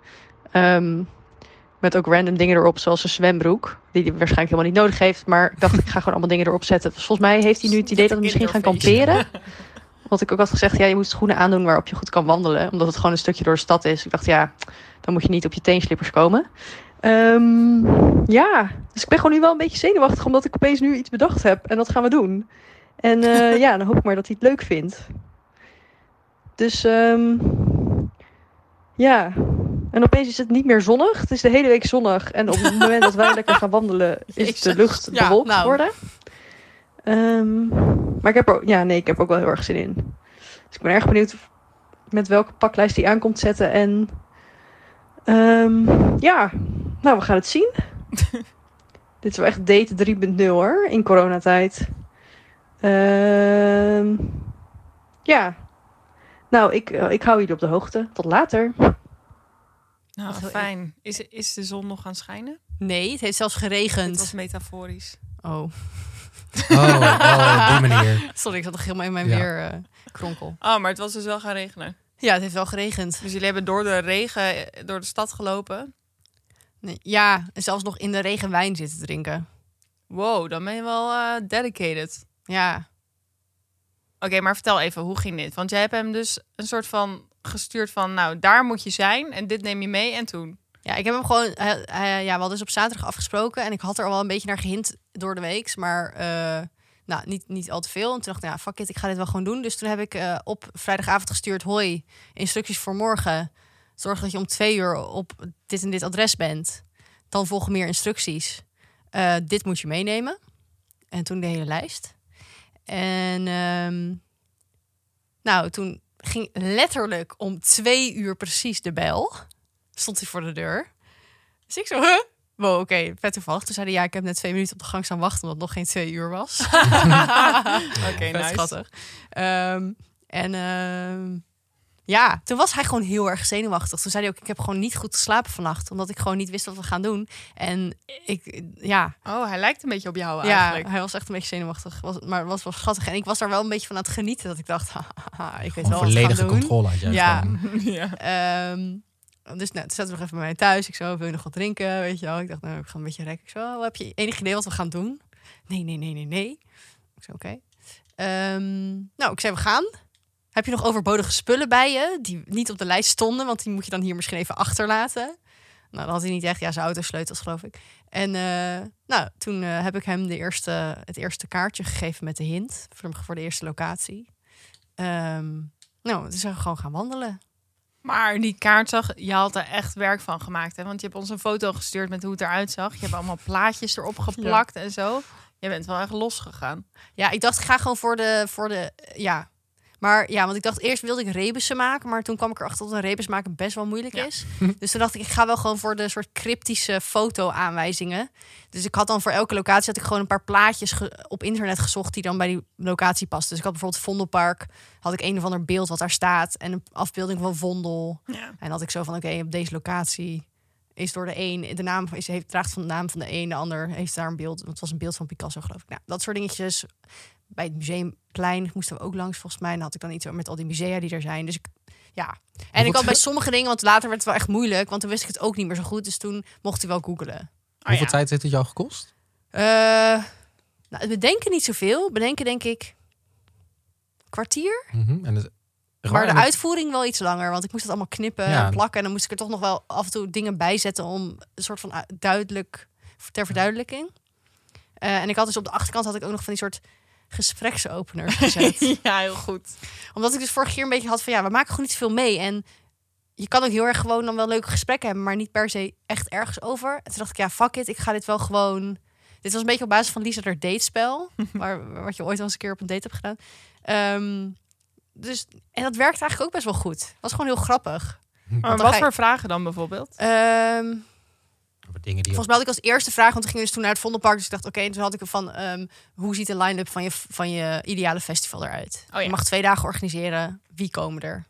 S8: Ehm, met ook random dingen erop, zoals een zwembroek. Die hij waarschijnlijk helemaal niet nodig heeft. Maar ik dacht, ik ga gewoon allemaal dingen erop zetten. Dus volgens mij heeft hij nu het idee dat we misschien gaan kamperen. Want ik ook had gezegd, ja, je moet schoenen aandoen waarop je goed kan wandelen. Omdat het gewoon een stukje door de stad is. Ik dacht, ja, dan moet je niet op je teenslippers komen. Ehm, ja, dus ik ben gewoon nu wel een beetje zenuwachtig. Omdat ik opeens nu iets bedacht heb. En dat gaan we doen. En
S3: *laughs*
S8: eh, ja, dan hoop ik maar dat hij het leuk vindt. Dus ehm, ja. En opeens is het niet meer zonnig. Het is de hele week zonnig. En op het
S3: *laughs*
S8: moment dat wij lekker gaan wandelen, is de
S3: Jezus.
S8: lucht
S3: Ja,
S8: bewolkt
S3: nou.
S8: geworden. Ehm, maar ik heb, er, ook- ja, nee, ik heb er ook wel heel erg zin in. Dus ik ben erg benieuwd met welke paklijst hij aankomt zetten. En ehm, ja, nou, we gaan het zien. Dit is wel echt date 3.0 hoor, in coronatijd. Ehm, ja. Nou, ik, eh, ik hou jullie op de hoogte. Tot later.
S3: Nou,
S2: Wat heel
S3: fijn. Is, is de zon nog aan het schijnen?
S2: Nee, het heeft zelfs
S3: Het was
S2: geregend.
S3: metaforisch.
S2: Oh,
S1: Oh, oh, op die manier.
S2: *laughs* sorry, ik zat nog helemaal in mijn
S1: Ja.
S2: weer eh, kronkel.
S3: Oh, maar het was dus wel gaan regenen.
S2: Ja, het heeft wel geregend.
S3: Dus jullie hebben door de regen eh, door de stad gelopen.
S2: Nee, ja, en zelfs nog in de regen wijn zitten drinken.
S3: Wow, dan ben je wel eh, dedicated.
S2: Ja,
S3: Oké, maar vertel even, hoe ging dit? Want jij hebt hem dus een soort van gestuurd van... nou, daar moet je zijn en dit neem je mee en toen.
S2: ja ik heb hem gewoon... hij- hij- ja, we hadden dus op zaterdag afgesproken. En ik had er al wel een beetje naar gehint door de week. Maar eh, nou, niet, niet al te veel. En toen dacht ik, nou, fuck it, ik ga dit wel gewoon doen. Dus toen heb ik eh, op vrijdagavond gestuurd... Hoi, instructies voor morgen. Zorg dat je om twee uur op dit en dit adres bent. Dan volgen meer instructies. Eh, dit moet je meenemen. En toen de hele lijst. En ehm, nou, toen ging letterlijk om twee uur precies de bel. Stond hij voor de deur. Dus ik zo, huh? Wow, oké, vet toevallig. Toen zei hij, ja, ik heb net twee minuten op de gang staan wachten... omdat het nog geen twee uur
S3: *laughs*
S2: was.
S3: Oké,
S2: Vet
S3: nice.
S2: schattig. Ehm, en ehm, ja, toen was hij gewoon heel erg zenuwachtig. Toen zei hij ook, ik heb gewoon niet goed geslapen vannacht... omdat ik gewoon niet wist wat we gaan doen. En ik, ja,
S3: Oh, hij lijkt een beetje op jou
S2: ja,
S3: *laughs* eigenlijk.
S2: hij was echt een beetje zenuwachtig, was, maar was wel schattig. En ik was daar wel een beetje van aan het genieten. Dat ik dacht, *laughs* haha, ik weet
S1: Gewoon
S2: wel wat we gaan
S1: volledige
S2: doen.
S1: controle had jij
S2: Ja. Oh,
S1: gewoon.
S3: ja.
S2: Ehm, dus nou, toen zaten we nog even bij mij thuis. Ik zo, wil je nog wat drinken? Weet je wel. Ik dacht, nou, ik ga een beetje rekken. Ik zo, oh, heb je enig idee wat we gaan doen? Nee, nee, nee, nee, nee. Ik zei, oké. Ehm, nou, ik zei, we gaan. Heb je nog overbodige spullen bij je? Die niet op de lijst stonden, want die moet je dan hier misschien even achterlaten. Nou, dat had hij niet echt. Ja, zijn autosleutels, geloof ik. En eh, nou, toen eh, heb ik hem de eerste, het eerste kaartje gegeven met de hint. Voor, hem- voor de eerste locatie. Ehm, nou, toen zijn we gewoon gaan wandelen.
S3: Maar die kaart zag, je had er echt werk van gemaakt. Hè? Want je hebt ons een foto gestuurd met hoe het eruit zag. Je hebt allemaal plaatjes erop geplakt en zo. Je bent wel echt losgegaan.
S2: Ja, ik dacht, ik ga gewoon voor de, voor de, ja. Maar ja, want ik dacht eerst wilde ik rebussen maken, maar toen kwam ik erachter dat een rebus maken best wel moeilijk is. Dus toen dacht ik, ik ga wel gewoon voor de soort cryptische foto-aanwijzingen. Dus ik had dan voor elke locatie had ik gewoon een paar plaatjes ge- op internet gezocht die dan bij die locatie pasten. Dus ik had bijvoorbeeld Vondelpark, had ik een of ander beeld wat daar staat en een afbeelding van Vondel. En had ik zo van, oké, op deze locatie is door de een, de naam is, heeft, draagt van de naam van de een, de ander heeft daar een beeld. want Het was een beeld van Picasso, geloof ik. Nou, dat soort dingetjes. Bij het museumplein moesten we ook langs, volgens mij. En dan had ik dan iets met al die musea die er zijn. Dus ik, ja. En ik had bij sommige dingen, want later werd het wel echt moeilijk, want toen wist ik het ook niet meer zo goed. Dus toen mocht hij wel googelen.
S1: Hoeveel
S3: ja.
S1: tijd heeft het jou gekost?
S2: Eh nou, het bedenken niet zoveel. Bedenken denk ik kwartier.
S1: Mhm, en het-
S2: Maar
S1: Raar,
S2: de
S1: en het-
S2: uitvoering wel iets langer, want ik moest het allemaal knippen
S1: Ja.
S2: en plakken. En dan moest ik er toch nog wel af en toe dingen bij zetten om een soort van u- duidelijk ter verduidelijking. Eh, en ik had dus op de achterkant had ik ook nog van die soort gespreksopeners
S3: *laughs*
S2: gezet.
S3: *laughs* ja, heel goed.
S2: Omdat ik dus vorig keer een beetje had van ja, we maken gewoon niet zoveel mee. En je kan ook heel erg gewoon dan wel leuke gesprekken hebben, maar niet per se echt ergens over. En toen dacht ik, ja, fuck it, ik ga dit wel gewoon. Dit was een beetje op basis van Lisa haar datespel, waar, wat je ooit wel eens een keer op een date hebt gedaan. Ehm, dus, en dat werkte eigenlijk ook best wel goed. Was gewoon heel grappig.
S3: Maar
S2: dan
S3: wat
S2: ga je-
S3: voor vragen dan bijvoorbeeld?
S2: Ehm,
S1: Over dingen die
S2: volgens mij had ik als eerste vraag, want we gingen dus toen naar het Vondelpark. Dus ik dacht, oké, en toen had ik van, ehm, hoe ziet de line-up van je, van je ideale festival eruit?
S3: ja.
S2: Nou, Je mag twee dagen organiseren. Wie komen er?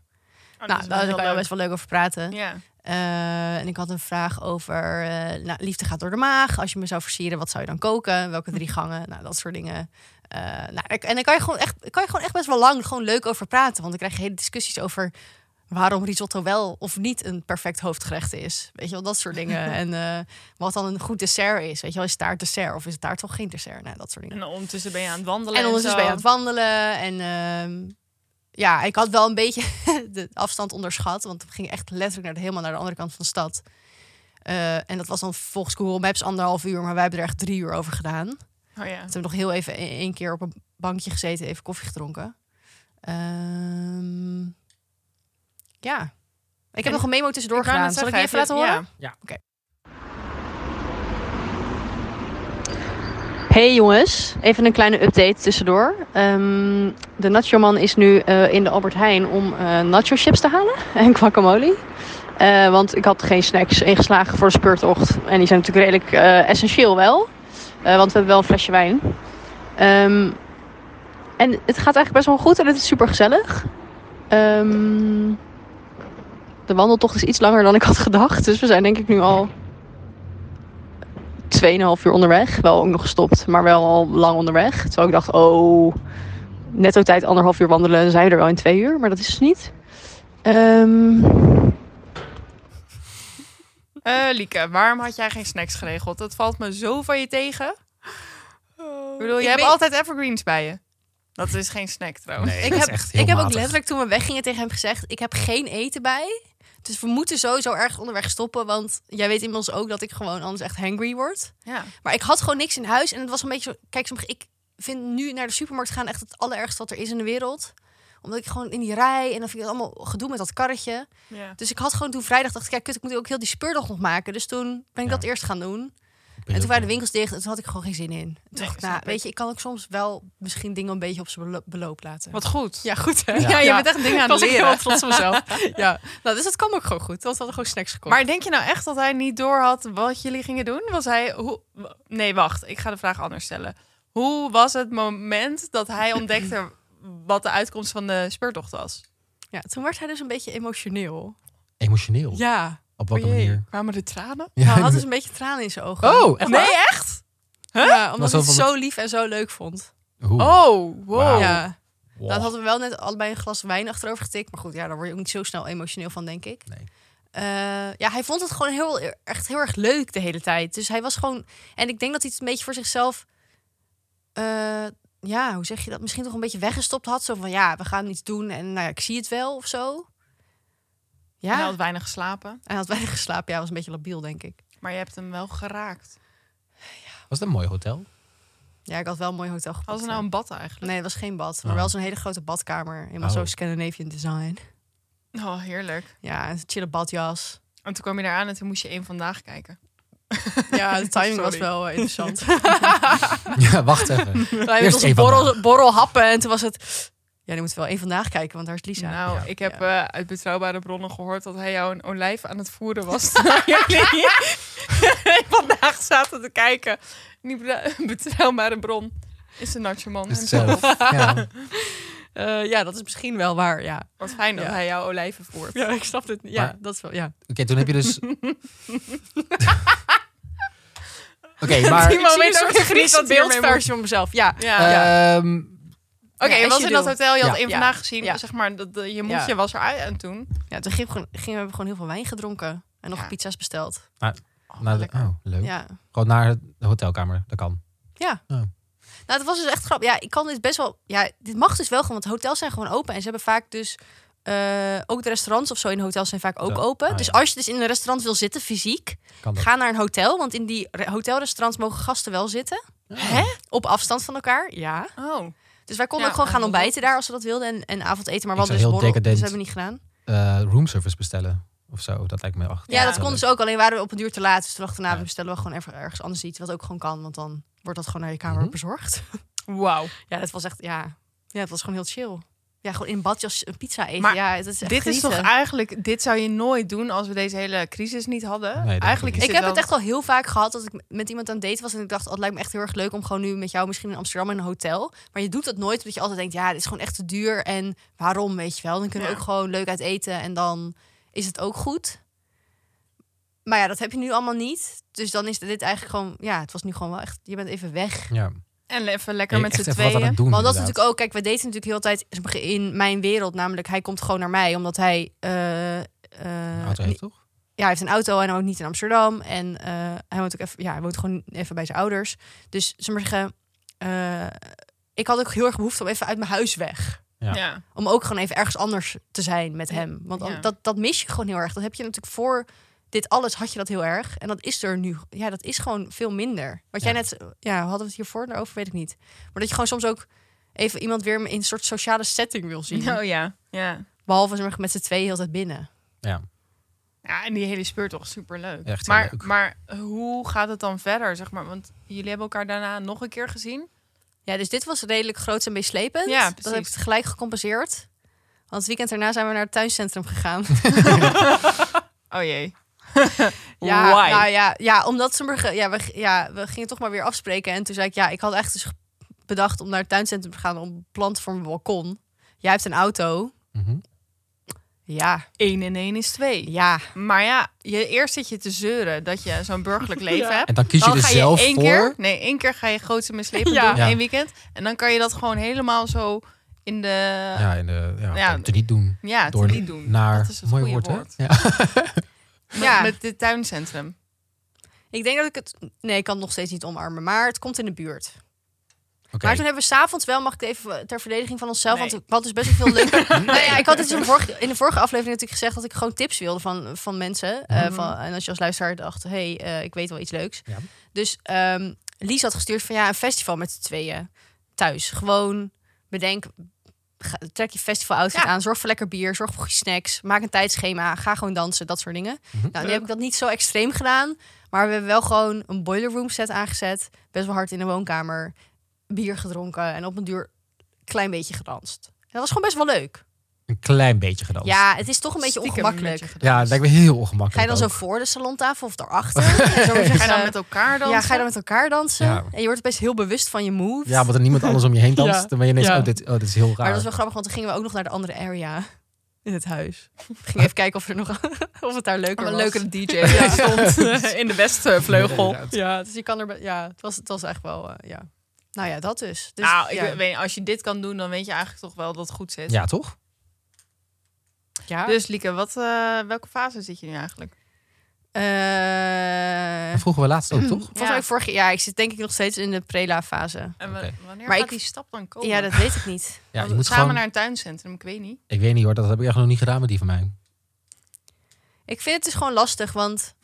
S2: nou, daar kan je best wel leuk over praten.
S3: Ja.
S2: Eh, en ik had een vraag over, eh, nou, liefde gaat door de maag. Als je me zou versieren, wat zou je dan koken? Welke drie gangen? Nou, dat soort dingen. Eh, nou, ik- en dan kan je, gewoon echt, kan je gewoon echt best wel lang gewoon leuk over praten. Want dan krijg je hele discussies over waarom risotto wel of niet een perfect hoofdgerecht is. Weet je wel, dat soort dingen. en eh, wat dan een goed dessert is. Weet je wel, is taart dessert of is taart toch geen dessert? Nou, dat soort dingen.
S3: En ondertussen ben je aan het wandelen.
S2: En ondertussen
S3: zo.
S2: ben je aan het wandelen. En ehm, ja, ik had wel een beetje *laughs* de afstand onderschat. Want we gingen echt letterlijk naar de, helemaal naar de andere kant van de stad. Eh, en dat was dan volgens Google Maps anderhalf uur. Maar wij hebben er echt drie uur over gedaan. Toen
S3: Oh ja.
S2: hebben we nog heel even e- één keer op een bankje gezeten. Even koffie gedronken. Ehm, ja. Ik heb
S3: En-
S2: nog een memo tussendoor
S3: wou
S2: gedaan.
S3: net
S2: Zal ik
S3: zeggen,
S2: die even laten
S3: heb je-
S2: horen?
S3: ja.
S8: Hey jongens, even een kleine update tussendoor. Ehm, de Nacho Man is nu eh, in de Albert Heijn om eh, nacho chips te halen *laughs* en guacamole. Eh, want ik had geen snacks ingeslagen voor de speurtocht. En die zijn natuurlijk redelijk eh, essentieel wel. Eh, want we hebben wel een flesje wijn. Ehm, en het gaat eigenlijk best wel goed en het is super gezellig. Ehm, de wandeltocht is iets langer dan ik had gedacht. Dus we zijn denk ik nu al 2,5 uur onderweg. Wel ook nog gestopt, maar wel al lang onderweg. Terwijl ik dacht, oh, netto tijd anderhalf uur wandelen. Dan zijn we er wel in twee uur, maar dat is dus niet. Ehm,
S3: Eh, Lieke, waarom had jij geen snacks geregeld? Dat valt me zo van je tegen. Ik bedoel,
S2: Ik
S3: je hebt
S2: weet-
S3: altijd evergreens bij je. Dat is geen snack trouwens.
S1: Nee,
S2: Ik
S1: dat is
S2: heb,
S1: echt heel
S2: ik heb ook
S1: matig.
S2: letterlijk toen we weggingen tegen hem gezegd: Ik heb geen eten bij. Dus we moeten sowieso erg onderweg stoppen. Want jij weet inmiddels ook dat ik gewoon anders echt hangry word.
S3: Ja.
S2: Maar ik had gewoon niks in huis. En het was een beetje zo. Kijk, sommige, ik vind nu naar de supermarkt gaan echt het allerergste wat er is in de wereld. Omdat ik gewoon in die rij. En dan vind ik het allemaal gedoe met dat karretje.
S3: ja.
S2: Dus ik had gewoon toen vrijdag dacht ik: ja, kut, ik moet ook heel die speurdag nog maken. Dus toen ben ik
S1: Ja.
S2: dat eerst gaan doen.
S1: Ik ben
S2: En
S1: heel
S2: toen waren de winkels dicht. En toen had ik gewoon geen zin in. Toen dacht ik:
S3: snap
S2: nou,
S3: ik.
S2: weet je, ik kan ook soms wel misschien dingen een beetje op zijn belo- beloop laten.
S3: Wat goed.
S2: Ja, goed hè?
S1: Ja.
S2: Ja, je bent echt dingen aan het
S3: Was ik
S2: leren.
S3: heel trots
S2: op mezelf. *laughs* ja. Nou, dus dat kwam ook gewoon goed. Want we hadden gewoon snacks gekocht.
S3: Maar denk je nou echt dat hij niet door had wat jullie gingen doen? Was hij. Hoe... Nee, wacht. Ik ga de vraag anders stellen. Hoe was het moment dat hij
S2: *clears throat*
S3: ontdekte wat de uitkomst van de speurtocht was?
S2: ja, toen werd hij dus een beetje emotioneel.
S1: Emotioneel.
S3: Ja.
S1: Op welke
S3: Oei,
S1: manier?
S3: Kwamen de tranen?
S2: Ja, hij
S1: ik-
S2: had dus een beetje tranen in zijn ogen.
S1: Oh, echt
S3: nee,
S1: waar?
S3: echt?
S2: Ja, omdat
S1: Was
S2: hij
S1: dat
S2: het
S1: van-
S2: zo lief en zo leuk vond.
S1: Oeh.
S3: Oh, wow.
S1: Wauw.
S2: Ja.
S1: Wow.
S2: Nou, dat hadden we wel net allebei een glas wijn achterover getikt. Maar goed, ja, daar word je ook niet zo snel emotioneel van, denk ik.
S1: Nee.
S2: Eh, ja, hij vond het gewoon heel, echt heel erg leuk de hele tijd. Dus hij was gewoon... En ik denk dat hij het een beetje voor zichzelf... eh, ja, hoe zeg je dat? Misschien toch een beetje weggestopt had. Zo van, ja, we gaan iets doen en nou ja, ik zie het wel of zo. Ja,
S3: Hij had weinig geslapen,
S2: hij had weinig geslapen. Ja, hij was een beetje labiel, denk ik.
S3: maar je hebt hem wel geraakt.
S1: Was het een mooi hotel?
S2: *laughs*
S1: *laughs*
S2: Ja, ik had wel een mooi hotel gepakt.
S3: Hadden ze nou een bad eigenlijk?
S2: Nee, het was geen bad. Maar
S1: Oh.
S2: wel zo'n hele grote badkamer. Helemaal
S1: Oh.
S2: zo Scandinavian design.
S3: Oh, heerlijk.
S2: Ja, een chille badjas.
S3: En toen kwam je eraan en toen moest je één vandaag *laughs* kijken.
S2: Ja, *laughs* de timing was
S3: Sorry.
S2: wel eh, *laughs* interessant.
S1: Ja, wacht
S2: *laughs*
S1: even.
S2: Wij
S1: Eerst
S2: hebben onze
S1: één vandaag.
S2: borrel, borrel happen en toen was het... Ja, nu moeten we wel één vandaag kijken, want daar is Lisa.
S3: Nou,
S1: Ja.
S3: ik heb eh, uit betrouwbare bronnen gehoord dat hij jou een olijf aan het voeren was. *laughs* terwijl jullie *laughs* vandaag zaten te kijken. Die bra- *laughs* betrouwbare bron is een nachtje man.
S1: Is het
S3: hemzelf.
S1: zelf. Ja.
S2: Eh, ja, dat is misschien wel waar, ja. *laughs*
S3: Wat fijn dat
S2: Ja.
S3: hij jou olijven voert.
S2: Ja, ik snap dit. Ja,
S1: Maar-
S2: dat is wel, ja.
S1: Oké, toen heb je
S2: *laughs*
S1: dus... Oké, maar...
S3: Timo
S2: Ik zie
S3: weet
S2: een
S3: ook
S2: soort
S3: echt niet
S2: Griekse
S3: wat hij ermee moet.
S2: beeldversie van mezelf, ja.
S3: Ja.
S1: ehm,
S3: Oké,
S2: Ja,
S3: je
S2: as
S3: was
S2: you
S3: in dat
S2: do.
S3: hotel, je had
S1: Ja.
S3: één
S2: Ja.
S3: vandaag gezien.
S2: Ja.
S3: Zeg maar, dat, dat- je moedje
S2: Ja.
S3: was eruit en toen.
S2: Ja, toen gingen we, gewoon- gingen we gewoon heel veel wijn gedronken en nog
S3: Ja.
S2: pizza's besteld.
S1: naar de,
S3: lekker.
S1: oh, leuk. Oh.
S2: Ja.
S1: Gewoon naar de hotelkamer, dat kan.
S2: Nou, het was dus echt grappig. Ja, ik kan dit best wel. Ja, dit mag dus wel gewoon. Want hotels zijn gewoon open. En ze hebben vaak dus. eh, ook de restaurants of zo in hotels zijn vaak ook
S1: Ja.
S2: open.
S1: Ah, ja.
S2: Dus als je dus in een restaurant wil zitten, fysiek,
S1: Kan dat.
S2: ga naar een hotel. Want in die re- hotelrestaurants mogen gasten wel zitten. Hè? Op afstand van elkaar. Ja.
S3: Oh.
S2: Dus wij konden
S3: Ja,
S2: ook gewoon gaan
S3: ja, dat
S2: ontbijten
S3: is-
S2: daar als we dat wilden. En, en avondeten. Maar
S1: Ik
S2: wat dus
S1: zou heel
S2: borrel. Dus dat
S1: decadent-
S2: hebben we niet gedaan.
S1: Eh, roomservice bestellen of zo, dat lijkt me echt.
S2: Ja, dat kon
S1: leuk.
S2: dus ook. Alleen waren we op een duur te laat. Dus toen dachten we, nou,
S1: Ja.
S2: we bestellen wel gewoon even ergens anders iets. Wat ook gewoon kan. Want dan wordt dat gewoon naar je kamer
S1: Mhm.
S2: bezorgd.
S3: Wauw.
S2: Ja, dat was echt, ja. Ja, het was gewoon heel chill. Ja, gewoon in badjas een pizza eten.
S3: Maar
S2: ja, het is echt
S3: Dit is
S2: genieten.
S3: toch eigenlijk, dit zou je nooit doen als we deze hele crisis niet hadden.
S1: Nee, dat
S3: eigenlijk
S1: is
S3: is
S2: Ik heb
S3: dit dan-
S2: het echt al heel vaak gehad dat ik met iemand aan het daten was. En ik dacht, oh, het lijkt me echt heel erg leuk om gewoon nu met jou misschien in Amsterdam in een hotel. Maar je doet dat nooit, omdat je altijd denkt, ja, dit is gewoon echt te duur. En waarom, weet je wel? Dan kunnen we
S3: Ja.
S2: ook gewoon leuk uit eten. En dan is het ook goed. Maar ja, dat heb je nu allemaal niet. Dus dan is dit eigenlijk gewoon... Ja, het was nu gewoon wel echt... Je bent even
S3: Mm,
S2: weg.
S1: Ja.
S3: En even lekker met
S1: Echt
S3: z'n
S1: even wat aan
S3: tweeën.
S1: het doen,
S2: Maar dat is
S1: inderdaad.
S2: natuurlijk ook... Kijk, wij daten natuurlijk heel de tijd in mijn wereld. Namelijk, hij komt gewoon naar mij. Omdat hij... eh, eh,
S1: Auto heeft,
S2: niet-
S1: toch?
S2: ja, hij heeft een auto en hij woont niet in Amsterdam. En eh, hij, woont ook even, ja, hij woont gewoon even bij zijn ouders. Dus ze maar zeggen... eh, ik had ook heel erg behoefte om even uit mijn huis weg.
S1: Ja.
S3: Ja.
S2: Om ook gewoon even ergens anders te zijn met hem. Want dan-
S3: Ja.
S2: dat, dat mis je gewoon heel erg. Dat heb je natuurlijk voor dit alles had je dat heel erg. En dat is er nu. Ja, dat is gewoon veel minder. Wat jij
S1: Ja.
S2: net... Ja, hadden we het hiervoor over? Weet ik niet. Maar dat je gewoon soms ook even iemand weer in een soort sociale setting wil zien.
S3: Oh ja. ja.
S2: Behalve zeg maar, met z'n tweeën heel de tijd binnen.
S1: Ja.
S3: Ja, en die hele speur toch superleuk.
S1: Echt heel
S3: maar,
S1: leuk.
S3: maar hoe gaat het dan verder, zeg maar? Want jullie hebben elkaar daarna nog een keer gezien.
S2: Ja, dus dit was redelijk groot en meeslepend.
S3: Ja,
S2: dat heb ik
S3: precies.
S2: gelijk gecompenseerd. Want het weekend daarna zijn we naar het tuincentrum
S3: *laughs*
S2: gegaan.
S3: Oh jee.
S2: Ja,
S3: Why?
S2: nou ja, ja, omdat ze me, ge- ja, we, ja, we gingen toch maar weer afspreken. En toen zei ik, ja, ik had echt dus bedacht om naar het tuincentrum te gaan om planten voor mijn balkon. Jij hebt een auto.
S1: Mhm.
S2: Ja,
S3: 1 en 1 is 2.
S2: ja.
S3: Maar ja, je, eerst zit je te zeuren dat je zo'n *laughs* burgerlijk leven hebt.
S1: En dan kies je
S3: Dan
S1: er
S3: ga je
S1: zelf
S3: één
S1: voor.
S3: keer, nee, één keer ga je grootste mislepen
S2: Ja.
S3: doen in
S1: Ja.
S3: één weekend. En dan kan je dat gewoon helemaal zo in de, ja,
S2: Eh,
S1: Ja, en de, ja,
S3: Ja.
S1: om te niet doen.
S3: te
S1: Door Nou.
S3: niet doen.
S1: Naar,
S3: dat is het
S1: mooi
S3: goede
S1: woord, hè?
S3: woord.
S1: Ja.
S3: Met,
S2: Ja.
S3: met dit tuincentrum.
S2: Ik denk dat ik het... Nee, ik kan het nog steeds niet omarmen. Maar het komt in de buurt.
S1: Oké.
S2: Maar toen hebben we s'avonds wel, mag ik het even ter verdediging van onszelf,
S3: Nee.
S2: want ik had dus best wel veel
S3: *laughs*
S2: leuker. nee, ja, ik had dus in de, vorige, in de vorige aflevering natuurlijk gezegd dat ik gewoon tips wilde van, van mensen. Eh,
S3: Mhm.
S2: van, en als je als luisteraar dacht, hé, hey, eh, ik weet wel iets leuks.
S1: Ja.
S2: Dus ehm, Lies had gestuurd van ja, een festival met z'n tweeën thuis. Gewoon bedenk, ga- trek je festival outfit
S3: Ja.
S2: aan, zorg voor lekker bier, zorg voor goede snacks, maak een tijdschema, ga gewoon dansen, dat soort dingen.
S3: Mhm.
S2: Nou, nu heb ik dat niet zo extreem gedaan, maar we hebben wel gewoon een boiler room set aangezet, best wel hard in de woonkamer, bier gedronken en op een duur klein beetje gedanst. En dat was gewoon best wel leuk.
S1: Een klein beetje gedanst.
S2: Ja, het is toch een beetje
S3: Stiekem
S2: ongemakkelijk.
S3: met je
S1: Ja,
S3: gedanst.
S1: lijkt me heel ongemakkelijk.
S2: Ga je dan zo
S1: ook.
S2: voor de salontafel of daarachter? *laughs* Zo moet je
S3: Dus, eh, Ga je dan
S2: gaan-
S3: met elkaar dan?
S2: ja, ga je dan met elkaar dansen?
S1: Ja.
S2: En je wordt best heel bewust van je moves.
S1: Ja, want er niemand anders om je heen danst.
S2: Ja.
S1: Dan ben je ineens,
S2: Ja.
S1: oh, dit, oh, dit is heel raar.
S2: Maar dat is wel grappig, want toen gingen we ook nog naar de andere area in het huis. We gingen even kijken of, er nog, *laughs* of het daar leuker
S3: Een
S2: was.
S3: leukere DJ *laughs* ja. stond in de westvleugel.
S2: Ja, dus je kan er... be- Ja, het was, het was echt wel... eh, ja. Nou ja, dat dus. dus
S3: nou, ik
S2: ja.
S3: weet niet, als je dit kan doen, dan weet je eigenlijk toch wel dat het goed zit.
S1: Ja, toch?
S2: Ja.
S3: Dus Lieke, wat, eh, welke fase zit je nu eigenlijk?
S2: Eh,
S1: Dat vroegen we laatst ook, toch?
S2: volgens mij vorig jaar... Ik zit denk ik nog steeds in de prela-fase.
S3: En wa-
S1: Oké.
S3: wanneer
S2: Maar
S3: gaat
S2: ik-
S3: die stap dan komen?
S2: Ja, dat weet ik niet.
S1: Ja, je
S3: Want
S1: moet
S3: samen
S1: gewoon...
S3: naar een tuincentrum, ik weet niet.
S1: Ik weet niet hoor, dat heb ik echt nog niet gedaan met die van mij.
S2: Ik vind het dus gewoon lastig,
S1: *laughs*
S2: want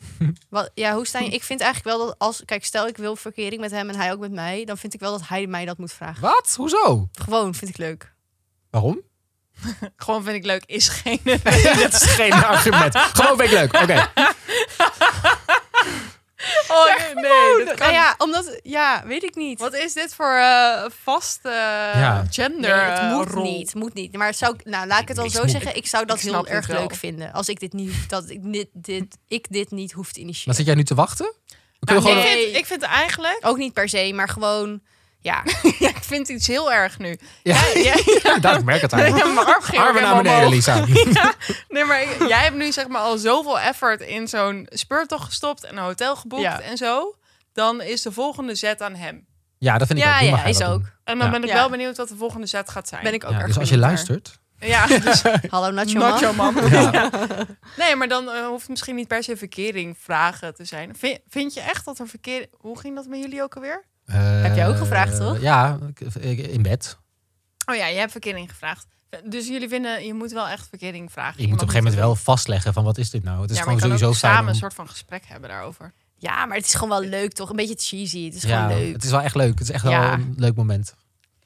S2: wat, ja, hoe sta je? Ik vind eigenlijk wel dat als kijk, stel ik wil verkering met hem en hij ook met mij, dan vind ik wel dat hij mij dat moet vragen.
S1: Wat? Hoezo?
S2: Gewoon vind ik leuk.
S1: Waarom?
S3: Gewoon vind ik leuk, is geen...
S1: *laughs* dat is *laughs* geen argument. Gewoon ben ik leuk. Oké. *laughs*
S3: *laughs* oh nee, nee, dat kan
S2: Nou ja, omdat ja, weet ik niet.
S3: Wat is dit voor eh vaste eh,
S1: Ja.
S2: Nee,
S3: gender
S2: het moet
S3: eh, rol?
S2: niet, moet niet. Maar het zou, ik- nou, laat ik het dan
S1: Ik
S2: zo
S1: snap-
S2: zeggen, ik zou dat
S3: ik
S2: heel
S3: snap het
S2: erg
S3: wel.
S2: leuk vinden als ik dit niet, dat ik dit, dit, ik dit niet hoef te
S1: Maar
S2: initiëren.
S1: zit jij nu te wachten? We kunnen
S3: Nou,
S1: gewoon...
S3: ik,
S2: Nee.
S3: vind, ik vind eigenlijk...
S2: Ook niet per se, maar gewoon ja.
S3: *laughs* Ja, ik vind iets heel erg nu.
S1: Ja,
S3: Ja, *laughs*
S1: ja, ik merk
S2: *laughs*
S1: het
S3: ja,
S1: eigenlijk.
S3: mijn arm ging ook
S1: Armen naar
S3: helemaal
S1: beneden,
S3: omhoog.
S1: Lisa.
S3: Nee, maar ik- jij hebt nu zeg maar al zoveel effort in zo'n speurtocht gestopt en een hotel geboekt
S2: Ja.
S3: en zo. Dan is de volgende zet aan hem.
S1: Ja, dat vind ik
S2: Ja,
S1: ook. Die
S2: ja,
S1: mag hij
S2: is
S1: wel doen.
S2: ook.
S3: En dan
S1: Ja.
S3: ben ik
S2: Ja.
S3: wel benieuwd wat de volgende zet gaat zijn.
S2: Ben ik ook
S1: Ja,
S2: erg
S1: dus als je
S2: benieuwd naar. *laughs*
S1: luistert...
S3: *laughs* Ja, dus
S2: Hallo Nacho.
S3: not
S2: Man.
S3: your mom.
S1: Ja.
S3: Nee, maar dan eh, hoeft misschien niet per se verkering vragen te zijn. Vind, vind je echt dat er verkeer... Hoe ging dat met jullie ook alweer?
S1: Heb
S2: jij ook gevraagd, toch?
S1: Eh, Ja, ik- ik- in bed.
S3: Oh ja, je hebt verkering gevraagd. Dus jullie vinden, je moet wel echt verkering vragen.
S1: Je moet op een gegeven moment wel vastleggen van wat is dit nou? Het is gewoon sowieso fijn
S3: samen
S1: om-
S3: een soort van gesprek hebben daarover.
S2: Ja, maar het is gewoon wel leuk toch? Een beetje cheesy. Het is
S1: ja,
S2: gewoon leuk.
S1: Het is wel echt leuk. Het is echt wel
S2: Ja.
S1: een leuk moment.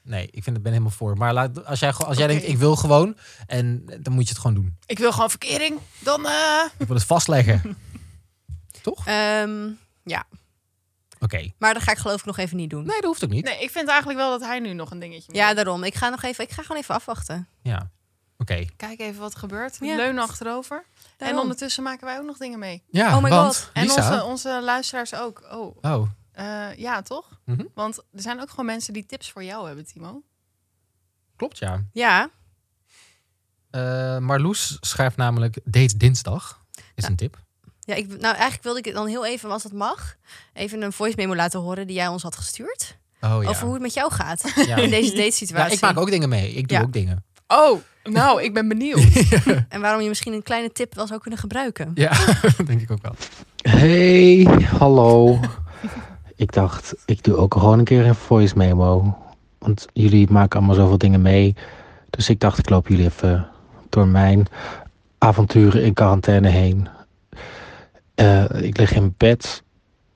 S1: Nee, ik vind het ben helemaal voor. Maar laat, als jij, gewoon- als jij
S3: Oké.
S1: denkt, ik wil gewoon, en dan moet je het gewoon doen.
S3: Ik wil gewoon verkering. Dan, eh,
S1: Ik
S2: *laughs*
S1: wil het vastleggen. Toch? Oké.
S2: Ehm, maar dat ga ik geloof ik nog even niet doen.
S1: Nee, dat hoeft ook niet.
S3: Nee, ik vind eigenlijk wel dat hij nu nog een dingetje moet
S2: Ja,
S3: doen.
S2: daarom. Ik ga nog even, ik ga gewoon even afwachten.
S1: Ja. Oké.
S3: Kijk even wat er gebeurt.
S2: Ja.
S3: Leun achterover.
S2: Daarom.
S3: En ondertussen maken wij ook nog dingen mee.
S1: Ja,
S2: Oh my
S1: want
S2: god.
S3: En
S1: Lisa...
S3: onze, onze luisteraars ook. Oh,
S1: Oh,
S3: eh, ja toch?
S1: Mhm.
S3: Want er zijn ook gewoon mensen die tips voor jou hebben, Timo.
S1: klopt ja.
S2: Ja,
S1: Eh Marloes schrijft namelijk, date dinsdag is een tip.
S2: Ja, ik, nou eigenlijk wilde ik het dan heel even, als dat mag, even een voice memo laten horen die jij ons had gestuurd.
S1: Oh ja.
S2: Over hoe het met jou gaat
S1: *laughs* Ja.
S2: *laughs* in deze
S1: Ja,
S2: datesituatie.
S1: ik maak ook dingen mee. Ik doe
S2: Ja.
S1: ook dingen.
S3: Oh, nou, ik ben benieuwd.
S2: En waarom je misschien een kleine tip wel zou kunnen gebruiken. *laughs*
S1: Ja, *laughs* denk ik ook wel.
S9: Hey, hallo. ik dacht, ik doe ook gewoon een keer een voice memo. Want jullie maken allemaal zoveel dingen mee. Dus ik dacht, ik loop jullie even door mijn avonturen in quarantaine heen. Eh, ik lig in bed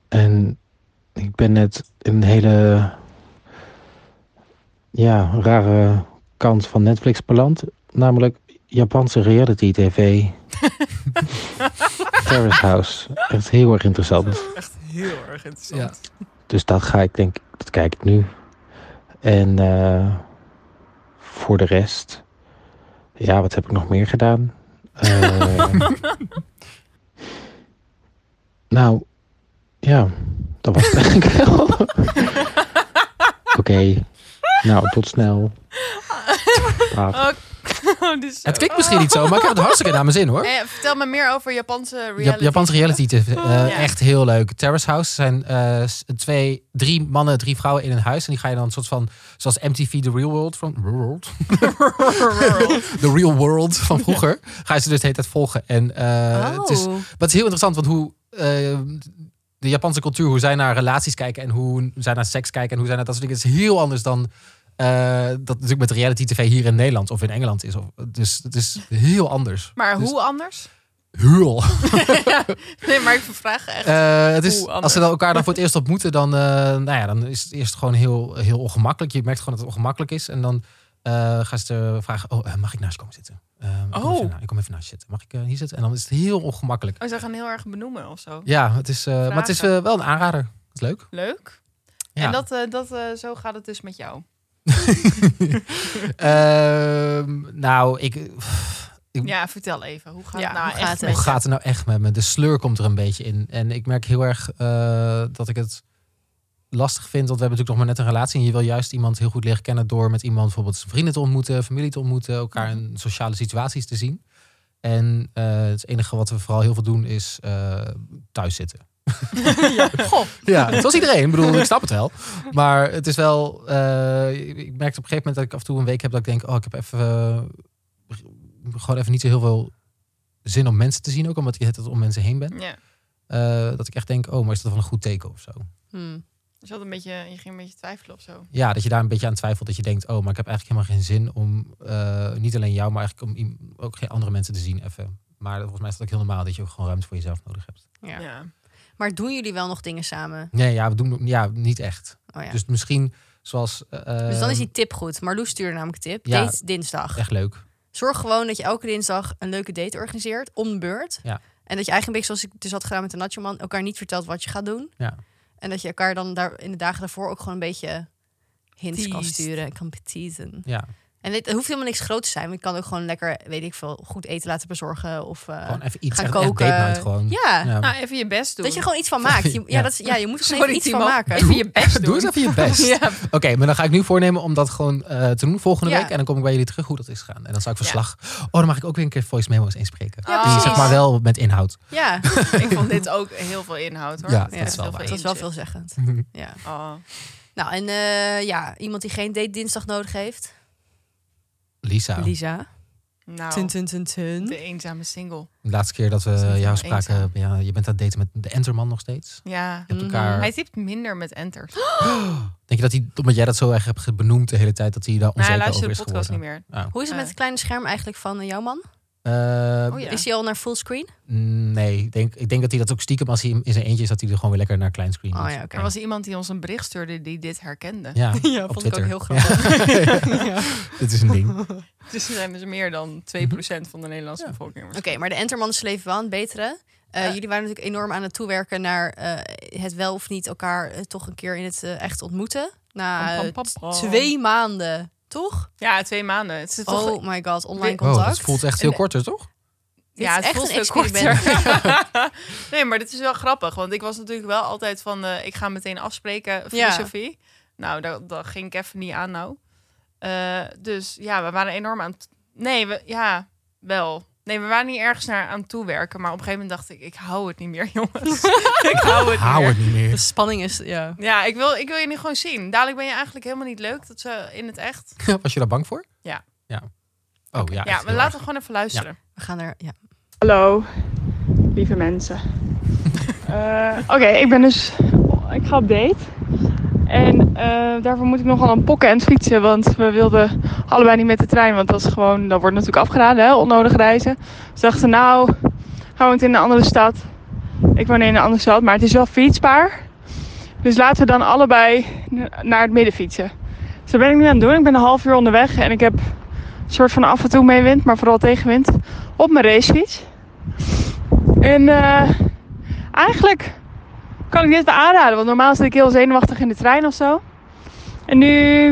S9: en ik ben net in een hele ja, rare kant van Netflix beland. Namelijk Japanse reality tv. Terrace House. Echt heel erg interessant.
S3: Echt heel erg
S1: Ja.
S3: interessant.
S9: Dus dat ga ik denk, dat kijk ik nu. En eh, voor de rest, ja, wat heb ik nog meer gedaan? Eh, *laughs* nou, ja, dat was het eigenlijk wel. *laughs* Oké, nou, tot snel. Braaf.
S3: *laughs* Oh, dit is-
S1: Het klinkt misschien niet zo, maar ik heb het hartstikke naar mijn zin hoor.
S3: Eh, vertel me meer over Japanse reality.
S1: Ja, Japanse reality TV. eh,
S3: Ja.
S1: Echt heel leuk. Terrace House zijn eh, s- twee, drie mannen, drie vrouwen in een huis. En die ga je dan een soort van, zoals MTV The Real World van... Real World? The Real World van vroeger. Ga je ze dus de hele tijd volgen. En eh,
S2: oh.
S1: het is Maar het is heel interessant, want hoe eh, de Japanse cultuur, hoe zij naar relaties kijken en hoe zij naar seks kijken en hoe zij naar dat soort dingen, is heel anders dan eh, dat natuurlijk met reality tv hier in Nederland of in Engeland is. Of, dus het is heel anders.
S3: Maar
S1: Dus-
S3: hoe anders? *laughs*
S1: Heel.
S3: Nee, maar ik vraag echt.
S1: Eh, het is,
S3: Hoe anders?
S1: als ze dan elkaar dan voor het eerst ontmoeten, dan, eh, nou ja, dan is het eerst gewoon heel, heel ongemakkelijk. Je merkt gewoon dat het ongemakkelijk is. En dan eh gaan ze eh, vragen, oh, eh, mag ik naast komen zitten? Eh, ik, kom
S3: Oh.
S1: even na- ik kom even naast je zitten. Mag ik eh, hier zitten? En dan is het heel ongemakkelijk.
S3: Oh, ze gaan heel erg benoemen of zo.
S1: Ja, het is, eh, maar het is
S3: Vragen.
S1: eh, wel een aanrader. Het is leuk.
S3: Leuk.
S1: Ja.
S3: En dat, eh, dat, eh, zo gaat het dus met jou.
S1: Ehm, nou, ik,
S3: Ja, vertel even. Hoe gaat
S2: Ja,
S3: het nou
S2: hoe
S3: echt
S2: gaat het?
S1: hoe
S3: met je?
S1: gaat het nou echt met me? De sleur komt er een beetje in. En ik merk heel erg eh, dat ik het lastig vind. Want we hebben natuurlijk nog maar net een relatie. En je wil juist iemand heel goed leren kennen door met iemand bijvoorbeeld zijn vrienden te ontmoeten, familie te ontmoeten, elkaar in sociale situaties te zien. En eh, het enige wat we vooral heel veel doen is eh, thuis zitten.
S3: Goh,
S1: Ja, *laughs* zoals iedereen. Ik bedoel, ik snap het wel. Maar het is wel... eh, ik merkte op een gegeven moment dat ik af en toe een week heb dat ik denk... Oh, ik heb even... eh, gewoon even niet zo heel veel zin om mensen te zien. Ook omdat je het om mensen heen bent.
S3: ja.
S1: Eh, dat ik echt denk, oh, maar is dat wel een goed teken of zo?
S2: Hmm.
S3: Je, zat een beetje, je ging een beetje twijfelen of zo.
S1: Ja, dat je daar een beetje aan twijfelt. Dat je denkt, oh, maar ik heb eigenlijk helemaal geen zin om... eh, niet alleen jou, maar eigenlijk om iem- ook geen andere mensen te zien even. Maar volgens mij is dat ook heel normaal dat je ook gewoon ruimte voor jezelf nodig hebt.
S2: Ja.
S3: Ja.
S2: Maar doen jullie wel nog dingen samen?
S1: Nee, ja, we doen ja, niet echt.
S2: Oh, ja. dus,
S1: Dus misschien zoals... eh,
S2: dan is die tip goed. Marloes stuurde namelijk een tip.
S1: Ja.
S2: Date dinsdag.
S1: Echt leuk.
S2: Zorg gewoon dat je elke dinsdag een leuke date organiseert. Om de beurt.
S1: Ja.
S2: En dat je eigenlijk een beetje zoals ik dus had gedaan met de Nachoman. Elkaar niet vertelt wat je gaat doen.
S1: Ja.
S2: En dat je elkaar dan daar in de dagen daarvoor ook gewoon een beetje hints kan
S3: Teased.
S2: sturen. Kan teasen.
S1: Ja,
S2: En dit het hoeft helemaal niks groot te zijn. Want je kan ook gewoon lekker, weet ik veel, goed eten laten bezorgen. Of eh,
S1: gewoon even iets.
S2: gaan
S1: Echt, echt
S2: koken.
S1: date night gewoon.
S2: ja.
S1: Ja.
S3: Nou, even je best doen.
S2: Dat je er gewoon iets van maakt. Je, ja,
S1: *laughs* Ja.
S2: Dat, is- ja, je moet er gewoon even
S3: Sorry,
S2: iets
S3: Timo.
S2: van maken.
S3: Even je best doen.
S1: *laughs* Doe eens even je best.
S3: *laughs* Ja,
S1: Oké, maar dan ga ik nu voornemen om dat gewoon eh, te doen volgende
S2: Ja.
S1: week. En dan kom ik bij jullie terug hoe dat is gegaan. En dan zal ik verslag. Oh, dan mag ik ook weer een keer voice memo's inspreken.
S3: Oh, Ja,
S1: Die
S3: precies.
S1: zeg maar wel met
S3: *laughs*
S1: inhoud.
S2: Ja,
S3: ik vond dit ook heel veel inhoud hoor.
S1: Ja,
S3: Het
S1: dat
S3: heeft
S1: is wel
S3: heel
S1: waar.
S2: dat
S3: veel
S2: is wel
S3: inzicht.
S2: veelzeggend. Ja.
S3: Oh.
S2: Nou, en eh, ja, iemand die geen date dinsdag nodig heeft.
S1: Lisa,
S2: Lisa.
S3: Nou,
S2: Tun, tun, tun, tun.
S3: de eenzame single.
S1: de laatste keer dat we
S3: Is niet
S1: jou
S3: helemaal
S1: spraken,
S3: eenzaam.
S1: ja, je bent aan het daten met de Enterman nog steeds.
S3: Ja.
S1: Je hebt
S2: Mhm.
S1: elkaar.
S3: Mm, Hij typt minder met enter.
S1: Denk je dat hij, omdat jij dat zo erg hebt benoemd de hele tijd, dat hij daar
S3: Maar Nou, hij
S1: onzeker
S3: luistert
S1: over
S3: de
S1: is
S3: podcast
S1: geworden?
S3: niet meer.
S2: Hoe is het met het kleine scherm eigenlijk van eh, jouw man?
S1: Eh, mm,
S3: Oh ja.
S2: Is hij al naar fullscreen?
S1: Nee, ik denk, ik denk dat hij dat ook stiekem als hij in zijn eentje is, dat hij er gewoon weer lekker naar kleinscreen
S2: Oh
S1: is.
S2: ja, oké.
S3: Er was iemand die ons een bericht stuurde die dit herkende.
S1: Ja,
S2: Ja,
S1: op
S2: vond ik
S1: Twitter.
S2: ook heel grappig.
S1: dit is een ding. Oh,
S3: Dus er zijn dus meer dan 2% van de Nederlandse
S1: Ja.
S3: bevolking.
S2: *laughs* Oké, maar de Enterman sleven wel een betere. Eh, Jullie waren natuurlijk enorm aan het toewerken naar eh, het wel of niet elkaar eh, toch een keer in het eh, echt ontmoeten. Na
S3: Pam, pam,
S2: eh,
S3: pam, pam.
S2: twee maanden, toch?
S3: Ja, twee maanden. Het is toch...
S2: Oh my god, online
S1: Oh,
S2: contact.
S1: dat voelt echt heel
S2: En-
S1: korter, toch?
S2: Dit
S3: ja,
S2: is
S3: het
S2: echt
S3: voelt
S2: een
S3: veel
S2: experiment. *laughs*
S3: korter. nee, maar dit is wel grappig. Want ik was natuurlijk wel altijd van... eh, ik ga meteen afspreken, filosofie. Nou, daar, daar ging ik even niet aan nou. Eh, dus ja, we waren enorm aan het... Nee, we, ja, wel. Nee, we waren niet ergens naar aan toewerken. Maar op een gegeven moment dacht ik, ik hou het niet meer, *laughs* jongens. ik hou het niet
S1: Hou
S3: meer.
S1: het niet
S2: De
S1: meer.
S2: *laughs* spanning is, ja.
S3: Ja, ik wil, ik wil je nu gewoon zien. Dadelijk ben je eigenlijk helemaal niet leuk. Dat ze in het echt.
S1: Was je daar bang voor?
S3: Ja.
S1: ja. Oh ja.
S3: Ja, we laten we gewoon even luisteren.
S2: We gaan er, ja.
S10: Hallo, lieve mensen. Eh, Oké, ik ben dus. Ik ga op date. En eh, daarvoor moet ik nogal aan pokken en fietsen. Want we wilden allebei niet met de trein. Want dat is gewoon. Dat wordt natuurlijk afgeraden, hè? Onnodig reizen. Dus we dachten, nou. Gaan we het in een andere stad? Ik woon in een andere stad, maar het is wel fietsbaar. Dus laten we dan allebei n- naar het midden fietsen. Dus dat ben ik nu aan het doen. Ik ben een half uur onderweg. En ik heb een soort van af en toe meewind, maar vooral tegenwind. Op mijn racefiets. En eh, eigenlijk kan ik dit wel aanraden, want normaal zit ik heel zenuwachtig in de trein of zo. En nu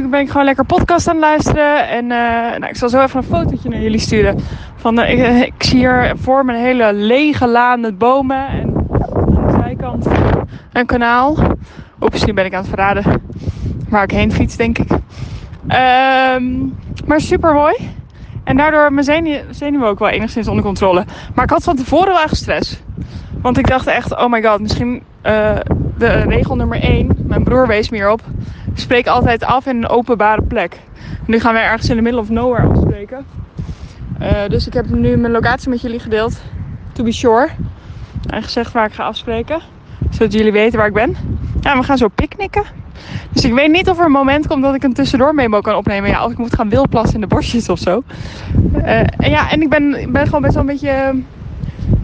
S10: ben ik gewoon lekker podcast aan het luisteren. En eh, nou, ik zal zo even een fotootje naar jullie sturen. Van, eh, ik, ik zie hier voor me een hele lege laan met bomen. En aan de zijkant een kanaal. Oeps, nu ben ik aan het verraden waar ik heen fiets, denk ik. Ehm, maar super mooi. En daardoor mijn zenu- zenuwen ook wel enigszins onder controle. Maar ik had van tevoren wel echt stress. Want ik dacht echt, oh my god, misschien eh, de regel nummer 1. Mijn broer wees me hierop. Spreek altijd af in een openbare plek. Nu gaan wij ergens in de middle of nowhere afspreken. Eh, dus ik heb nu mijn locatie met jullie gedeeld. To be sure. En gezegd waar ik ga afspreken. Zodat jullie weten waar ik ben. Ja, we gaan zo picknicken. Dus ik weet niet of er een moment komt dat ik een tussendoor memo kan opnemen. Ja, of ik moet gaan wildplassen in de bosjes of zo. Eh, en ja, en ik ben, ik ben gewoon best wel een beetje. eh,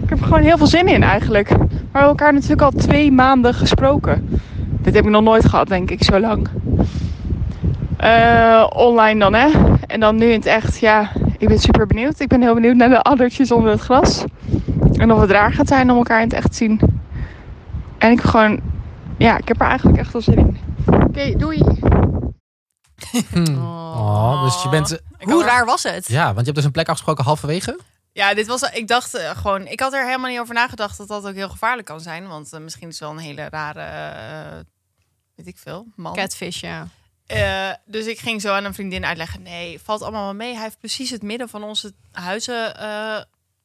S10: Ik heb er gewoon heel veel zin in eigenlijk. Maar we hebben elkaar natuurlijk al twee maanden gesproken. Dit heb ik nog nooit gehad, denk ik, zo lang. Eh, online dan, hè? En dan nu in het echt, ja, ik ben super benieuwd. Ik ben heel benieuwd naar de addertjes onder het gras. En of het raar gaat zijn om elkaar in het echt te zien. En ik heb gewoon, ja, ik heb er eigenlijk echt wel zin in. Oké, doei!
S1: Hm. Oh, dus je bent...
S3: Ik had
S2: Hoe
S3: er-
S2: raar was het?
S1: Ja, want je hebt dus een plek afgesproken halverwege.
S3: Ja, dit was. Ik dacht eh, gewoon. Ik had er helemaal niet over nagedacht dat dat ook heel gevaarlijk kan zijn. Want eh, misschien is het wel een hele rare. eh, weet ik veel. Man.
S2: Catfish, ja.
S3: Eh, dus ik ging zo aan een vriendin uitleggen. Nee, valt allemaal wel mee. Hij heeft precies het midden van onze huizen eh,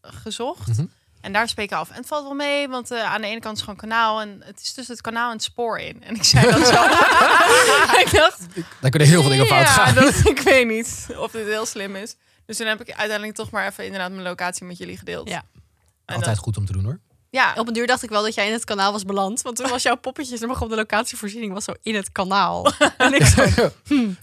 S3: gezocht.
S1: Mhm.
S3: En daar spreken we af. En het valt wel mee, want eh, aan de ene kant is gewoon kanaal. En het is tussen het kanaal en het spoor in. En ik zei dat zo. ik dacht,
S1: Daar kunnen heel veel dingen fout
S3: ja,
S1: gaan. *laughs*
S3: dat- ik weet niet of dit heel slim is. Dus toen heb ik uiteindelijk toch maar even inderdaad mijn locatie met jullie gedeeld.
S2: Ja.
S3: En
S1: Altijd goed om te doen hoor.
S3: ja.
S2: Op een duur dacht ik wel dat jij in het kanaal was beland. Want toen was jouw poppetje zeg maar, op de locatievoorziening was zo in het *laughs* kanaal. En ik zo, hmm,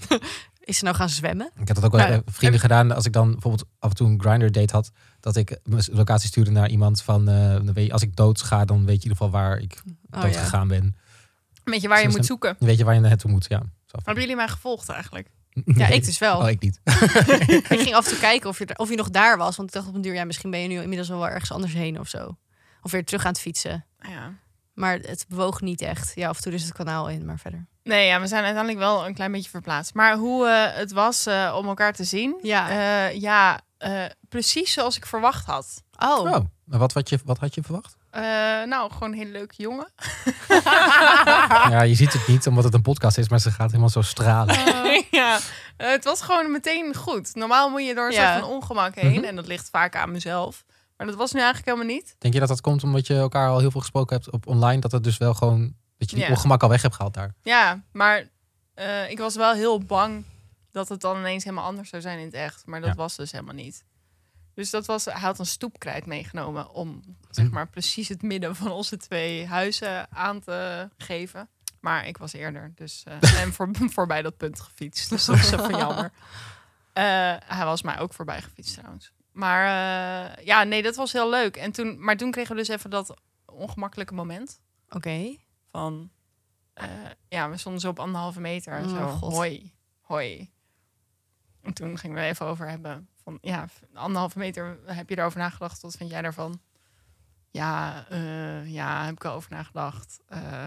S2: is ze nou gaan zwemmen?
S1: *laughs* Ik heb dat ook wel
S2: Nou,
S1: bij vrienden gedaan. Als ik dan bijvoorbeeld af en toe een grinder date had, dat ik mijn locatie stuurde naar iemand van, eh, dan weet je, als ik dood ga, dan weet je in ieder geval waar ik
S2: Oh,
S1: dood
S2: ja.
S1: gegaan ben.
S3: Weet je waar
S1: Zo
S3: je moet
S1: slim.
S3: zoeken?
S1: Dan weet je waar je naartoe moet. Ja, Zo.
S3: Hebben jullie mij gevolgd eigenlijk?
S2: ja, ik dus wel.
S1: Oh, ik niet.
S2: Ik ging af en toe kijken of je, of je nog daar was. Want ik dacht op een duur, ja, misschien ben je nu inmiddels wel ergens anders heen of zo. Of weer terug aan het fietsen.
S3: Ah Ja.
S2: Maar het bewoog niet echt. Ja, af en toe is het kanaal in, maar verder.
S3: Nee, ja, we zijn uiteindelijk wel een klein beetje verplaatst. Maar hoe eh, het was eh, om elkaar te zien.
S2: Ja.
S3: Eh, ja, eh, precies zoals ik verwacht had.
S2: Oh,
S1: Oh, maar wat, wat, je, wat had je verwacht?
S3: Eh, nou, gewoon een hele leuke
S1: *laughs*
S3: jongen.
S1: Ja, je ziet het niet omdat het een podcast is, maar ze gaat helemaal zo stralen.
S3: ja. Eh, het was gewoon meteen goed. Normaal moet je door een
S2: Ja.
S3: soort van ongemak heen.
S1: Mhm.
S3: En dat ligt vaak aan mezelf. Maar dat was nu eigenlijk helemaal niet.
S1: Denk je dat dat komt omdat je elkaar al heel veel gesproken hebt op online, dat het dus wel gewoon, dat je die
S3: Ja.
S1: ongemak al weg hebt gehaald daar?
S3: Ja, maar eh, ik was wel heel bang dat het dan ineens helemaal anders zou zijn in het echt. Maar dat
S1: Ja.
S3: was dus helemaal niet. Dus dat was, hij had een stoepkrijt meegenomen om zeg maar precies het midden van onze twee huizen aan te geven. Maar ik was eerder, dus eh, en voor, voorbij dat punt gefietst. Dus dat is even jammer. Eh, hij was mij ook voorbij gefietst trouwens. Maar eh, ja, nee, dat was heel leuk. En toen, maar toen kregen we dus even dat ongemakkelijke moment
S2: oké.
S3: van eh, ja, we stonden zo op anderhalve meter en
S2: Oh,
S3: zo.
S2: God.
S3: Hoi, hoi. En toen gingen we er even over hebben van ja, anderhalve meter heb je erover nagedacht? Wat vind jij daarvan? Ja, eh, ja, heb ik wel over nagedacht. Eh,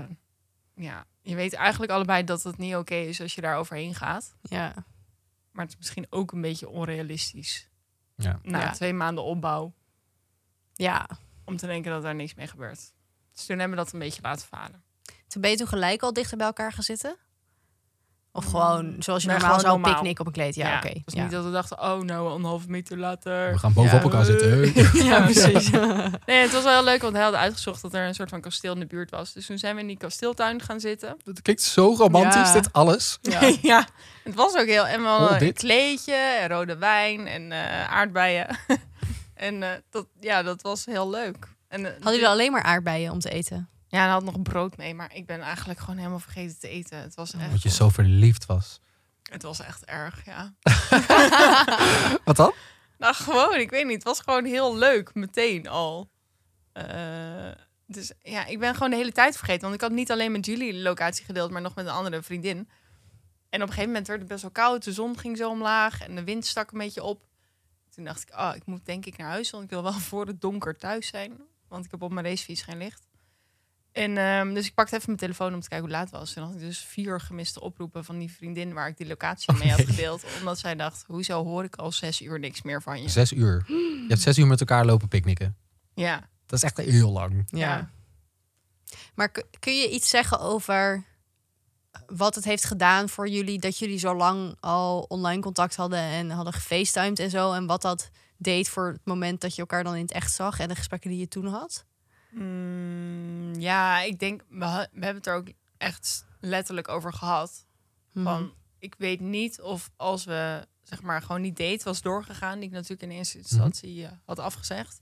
S3: ja, je weet eigenlijk allebei dat het niet oké is als je daar overheen gaat,
S2: Ja.
S3: maar het is misschien ook een beetje onrealistisch.
S1: Ja.
S3: Na
S2: Ja.
S3: twee maanden opbouw
S2: ja.
S3: om te denken dat daar niks mee gebeurt. Dus toen hebben we dat een beetje laten varen.
S2: Toen ben je toen gelijk al dichter bij elkaar gaan zitten? Of gewoon zoals je
S3: Nee,
S2: normaal
S3: gewoon
S2: zou
S3: normaal.
S2: picknicken op een kleed. Ja, oké.
S3: Dus
S2: ja.
S3: niet dat we dachten, oh nou, anderhalve meter later.
S1: We gaan bovenop
S3: Ja,
S1: elkaar zitten.
S3: *laughs*
S2: *laughs*
S3: ja, precies. Nee, het was wel heel leuk, want hij had uitgezocht dat er een soort van kasteel in de buurt was. Dus toen zijn we in die kasteeltuin gaan zitten.
S1: Het klinkt zo romantisch,
S2: Ja.
S1: dit alles.
S3: *laughs* Ja, het was ook heel... En we hadden
S1: Oh,
S3: een
S1: dit.
S3: kleedje, en rode wijn en eh, aardbeien. *laughs* en eh, dat, ja, dat was heel leuk. En, eh,
S2: Hadden jullie alleen maar aardbeien om te eten?
S3: Ja, en hij had nog brood mee, maar ik ben eigenlijk gewoon helemaal vergeten te eten. Het was
S1: Omdat
S3: echt,
S1: Oh, je zo verliefd was.
S3: het was echt erg, ja.
S1: Wat dan?
S3: Nou, gewoon, ik weet niet. Het was gewoon heel leuk, meteen al. Eh, dus ja, ik ben gewoon de hele tijd vergeten. Want ik had niet alleen met jullie de locatie gedeeld, maar nog met een andere vriendin. En op een gegeven moment werd het best wel koud. De zon ging zo omlaag en de wind stak een beetje op. Toen dacht ik, oh, ik moet denk ik naar huis, want ik wil wel *laughs* voor het donker thuis zijn. Want ik heb op mijn racefiets geen licht. En ehm, dus ik pakte even mijn telefoon om te kijken hoe laat het was. Toen had ik dus vier gemiste oproepen van die vriendin waar ik die locatie mee had gedeeld. Omdat zij dacht, hoezo hoor ik al zes uur niks meer van je?
S1: Zes uur. Je hebt zes uur met elkaar lopen picknicken.
S3: Ja,
S1: Dat is echt heel lang.
S3: ja.
S2: Maar k- kun je iets zeggen over wat het heeft gedaan voor jullie dat jullie zo lang al online contact hadden en hadden gefacetimed en zo en wat dat deed voor het moment dat je elkaar dan in het echt zag en de gesprekken die je toen had?
S3: Mm, ja, ik denk, we, ha- we hebben het er ook echt letterlijk over gehad. Van, ik weet niet of als we, zeg maar, gewoon die date was doorgegaan, die ik natuurlijk in eerste instantie eh, had afgezegd,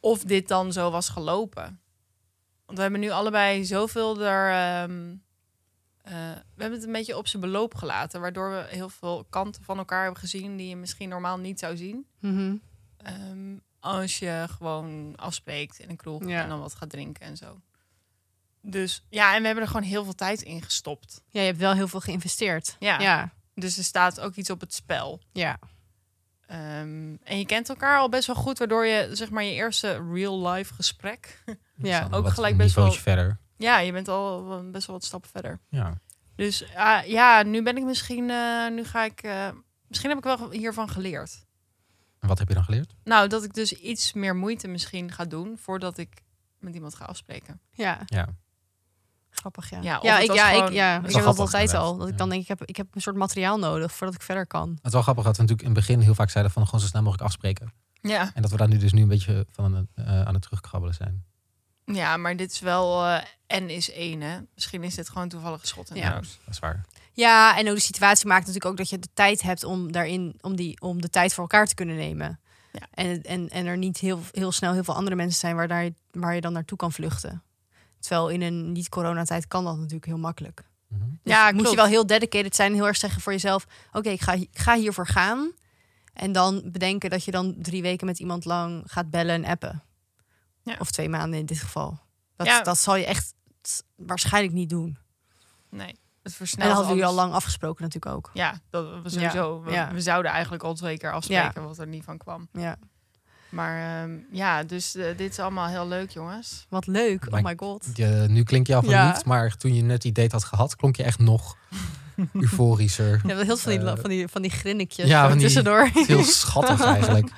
S3: of dit dan zo was gelopen. Want we hebben nu allebei zoveel er. ehm, eh, we hebben het een beetje op zijn beloop gelaten, waardoor we heel veel kanten van elkaar hebben gezien die je misschien normaal niet zou zien.
S2: Mhm.
S3: Ehm, als je gewoon afspreekt in een kroeg
S2: Ja.
S3: en dan wat gaat drinken en zo. Dus ja, en we hebben er gewoon heel veel tijd in gestopt.
S2: Ja, je hebt wel heel veel geïnvesteerd.
S3: Ja.
S2: ja.
S3: Dus er staat ook iets op het spel.
S2: ja.
S3: Ehm, en je kent elkaar al best wel goed, waardoor je zeg maar je eerste real life gesprek. *laughs*
S2: Ja,
S1: Dus dan
S3: ook
S1: wat
S3: gelijk
S1: een
S3: best wel-
S1: niveautje verder.
S3: ja, je bent al wel best wel wat stappen verder.
S1: Ja.
S3: Dus ah, ja, nu ben ik misschien, eh, nu ga ik, eh, misschien heb ik wel hiervan geleerd.
S1: En wat heb je dan geleerd?
S3: Nou, dat ik dus iets meer moeite misschien ga doen voordat ik met iemand ga afspreken.
S2: Ja.
S1: Ja.
S2: Grappig, ja.
S3: Ja,
S2: Ja,
S3: of het
S2: ik,
S3: was
S2: ja, ik,
S3: gewoon-
S2: ja.
S3: Het
S2: ik
S1: is
S2: heb
S1: wel
S2: dat
S1: grappig
S2: altijd
S1: geweest.
S2: al. Dat ik dan denk, ik heb, ik heb een soort materiaal nodig voordat ik verder kan.
S1: Het is wel grappig dat we natuurlijk in het begin heel vaak zeiden van gewoon zo snel mogelijk afspreken.
S3: Ja.
S1: En dat we daar nu dus nu een beetje van aan, eh, aan het terugkrabbelen zijn.
S3: Ja, maar dit is wel eh, N is één, hè? Misschien is dit gewoon toevallig geschot in de
S2: Ja.
S3: roos.
S1: Dat is waar.
S2: Ja, en ook de situatie maakt natuurlijk ook dat je de tijd hebt om daarin, om die, om de tijd voor elkaar te kunnen nemen.
S3: Ja.
S2: En, en, en er niet heel, heel snel heel veel andere mensen zijn waar, daar, waar je dan naartoe kan vluchten. Terwijl in een niet-coronatijd kan dat natuurlijk heel makkelijk.
S1: Mhm.
S2: ja,
S3: Ja,
S2: moet je
S3: klopt.
S2: wel heel dedicated zijn en heel erg zeggen voor jezelf: oké, ik, ga, ik ga hiervoor gaan. En dan bedenken dat je dan drie weken met iemand lang gaat bellen en appen.
S3: Ja.
S2: Of twee maanden in dit geval. Dat,
S3: Ja.
S2: dat zal je echt waarschijnlijk niet doen.
S3: Nee, het
S2: En
S3: versnelt
S2: dat hadden jullie al
S3: alles.
S2: lang afgesproken natuurlijk ook.
S3: Ja, dat we sowieso. We,
S2: ja.
S3: we zouden eigenlijk al twee keer afspreken wat er niet van kwam.
S2: Ja.
S3: Maar ehm, ja, dus eh, dit is allemaal heel leuk, jongens.
S2: Wat leuk. Oh
S1: Maar-
S2: my god.
S1: Je, nu klink je al
S2: Ja.
S1: verliefd, maar toen je net die date had gehad, klonk je echt
S3: *laughs*
S1: nog euforischer.
S2: Ja, heel veel van die,
S1: Eh,
S2: van die, van die grinnikjes
S1: ja,
S2: zo
S1: van die- *laughs*
S2: tussendoor.
S1: Het is Heel schattig eigenlijk.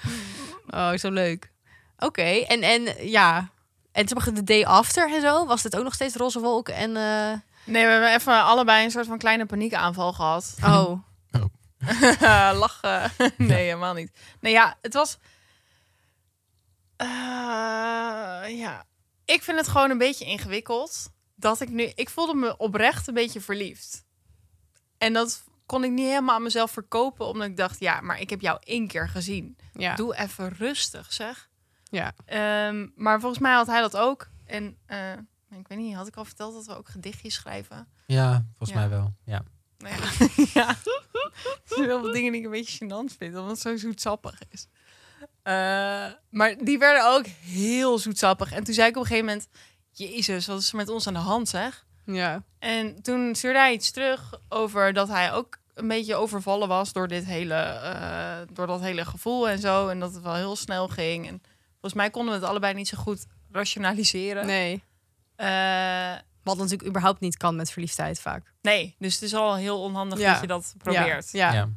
S2: Oh, zo leuk. Oké, en, en ja. En toen de day after en zo, was dit ook nog steeds roze wolk en... eh,
S3: Nee, we hebben even allebei een soort van kleine paniekaanval gehad.
S2: Oh,
S3: Eh, Lachen. *laughs* Nee, helemaal niet. Nee, ja, het was. Eh, ja, ik vind het gewoon een beetje ingewikkeld. Dat ik nu. Ik voelde me oprecht een beetje verliefd. En dat kon ik niet helemaal aan mezelf verkopen, omdat ik dacht, ja, maar ik heb jou één keer gezien.
S2: ja.
S3: Doe even rustig, zeg.
S2: Ja.
S3: Ehm, maar volgens mij had hij dat ook. En eh, ik weet niet, had ik al verteld dat we ook gedichtjes schrijven?
S1: Ja, volgens
S3: Ja.
S1: mij wel. Ja.
S3: Nou ja, ja. *laughs* Er zijn heel veel dingen die ik een beetje gênant vind, omdat het zo zoetsappig is. Eh, maar die werden ook heel zoetsappig. En toen zei ik op een gegeven moment... Jezus, wat is er met ons aan de hand, zeg?
S2: Ja.
S3: En toen stuurde hij iets terug over dat hij ook een beetje overvallen was... door, dit hele, eh, door dat hele gevoel en zo. En dat het wel heel snel ging. En volgens mij konden we het allebei niet zo goed rationaliseren.
S2: Nee.
S3: Eh,
S2: Wat natuurlijk überhaupt niet kan met verliefdheid vaak.
S3: nee, dus het is al heel onhandig
S2: Ja.
S3: dat je dat probeert.
S2: Ja. ja.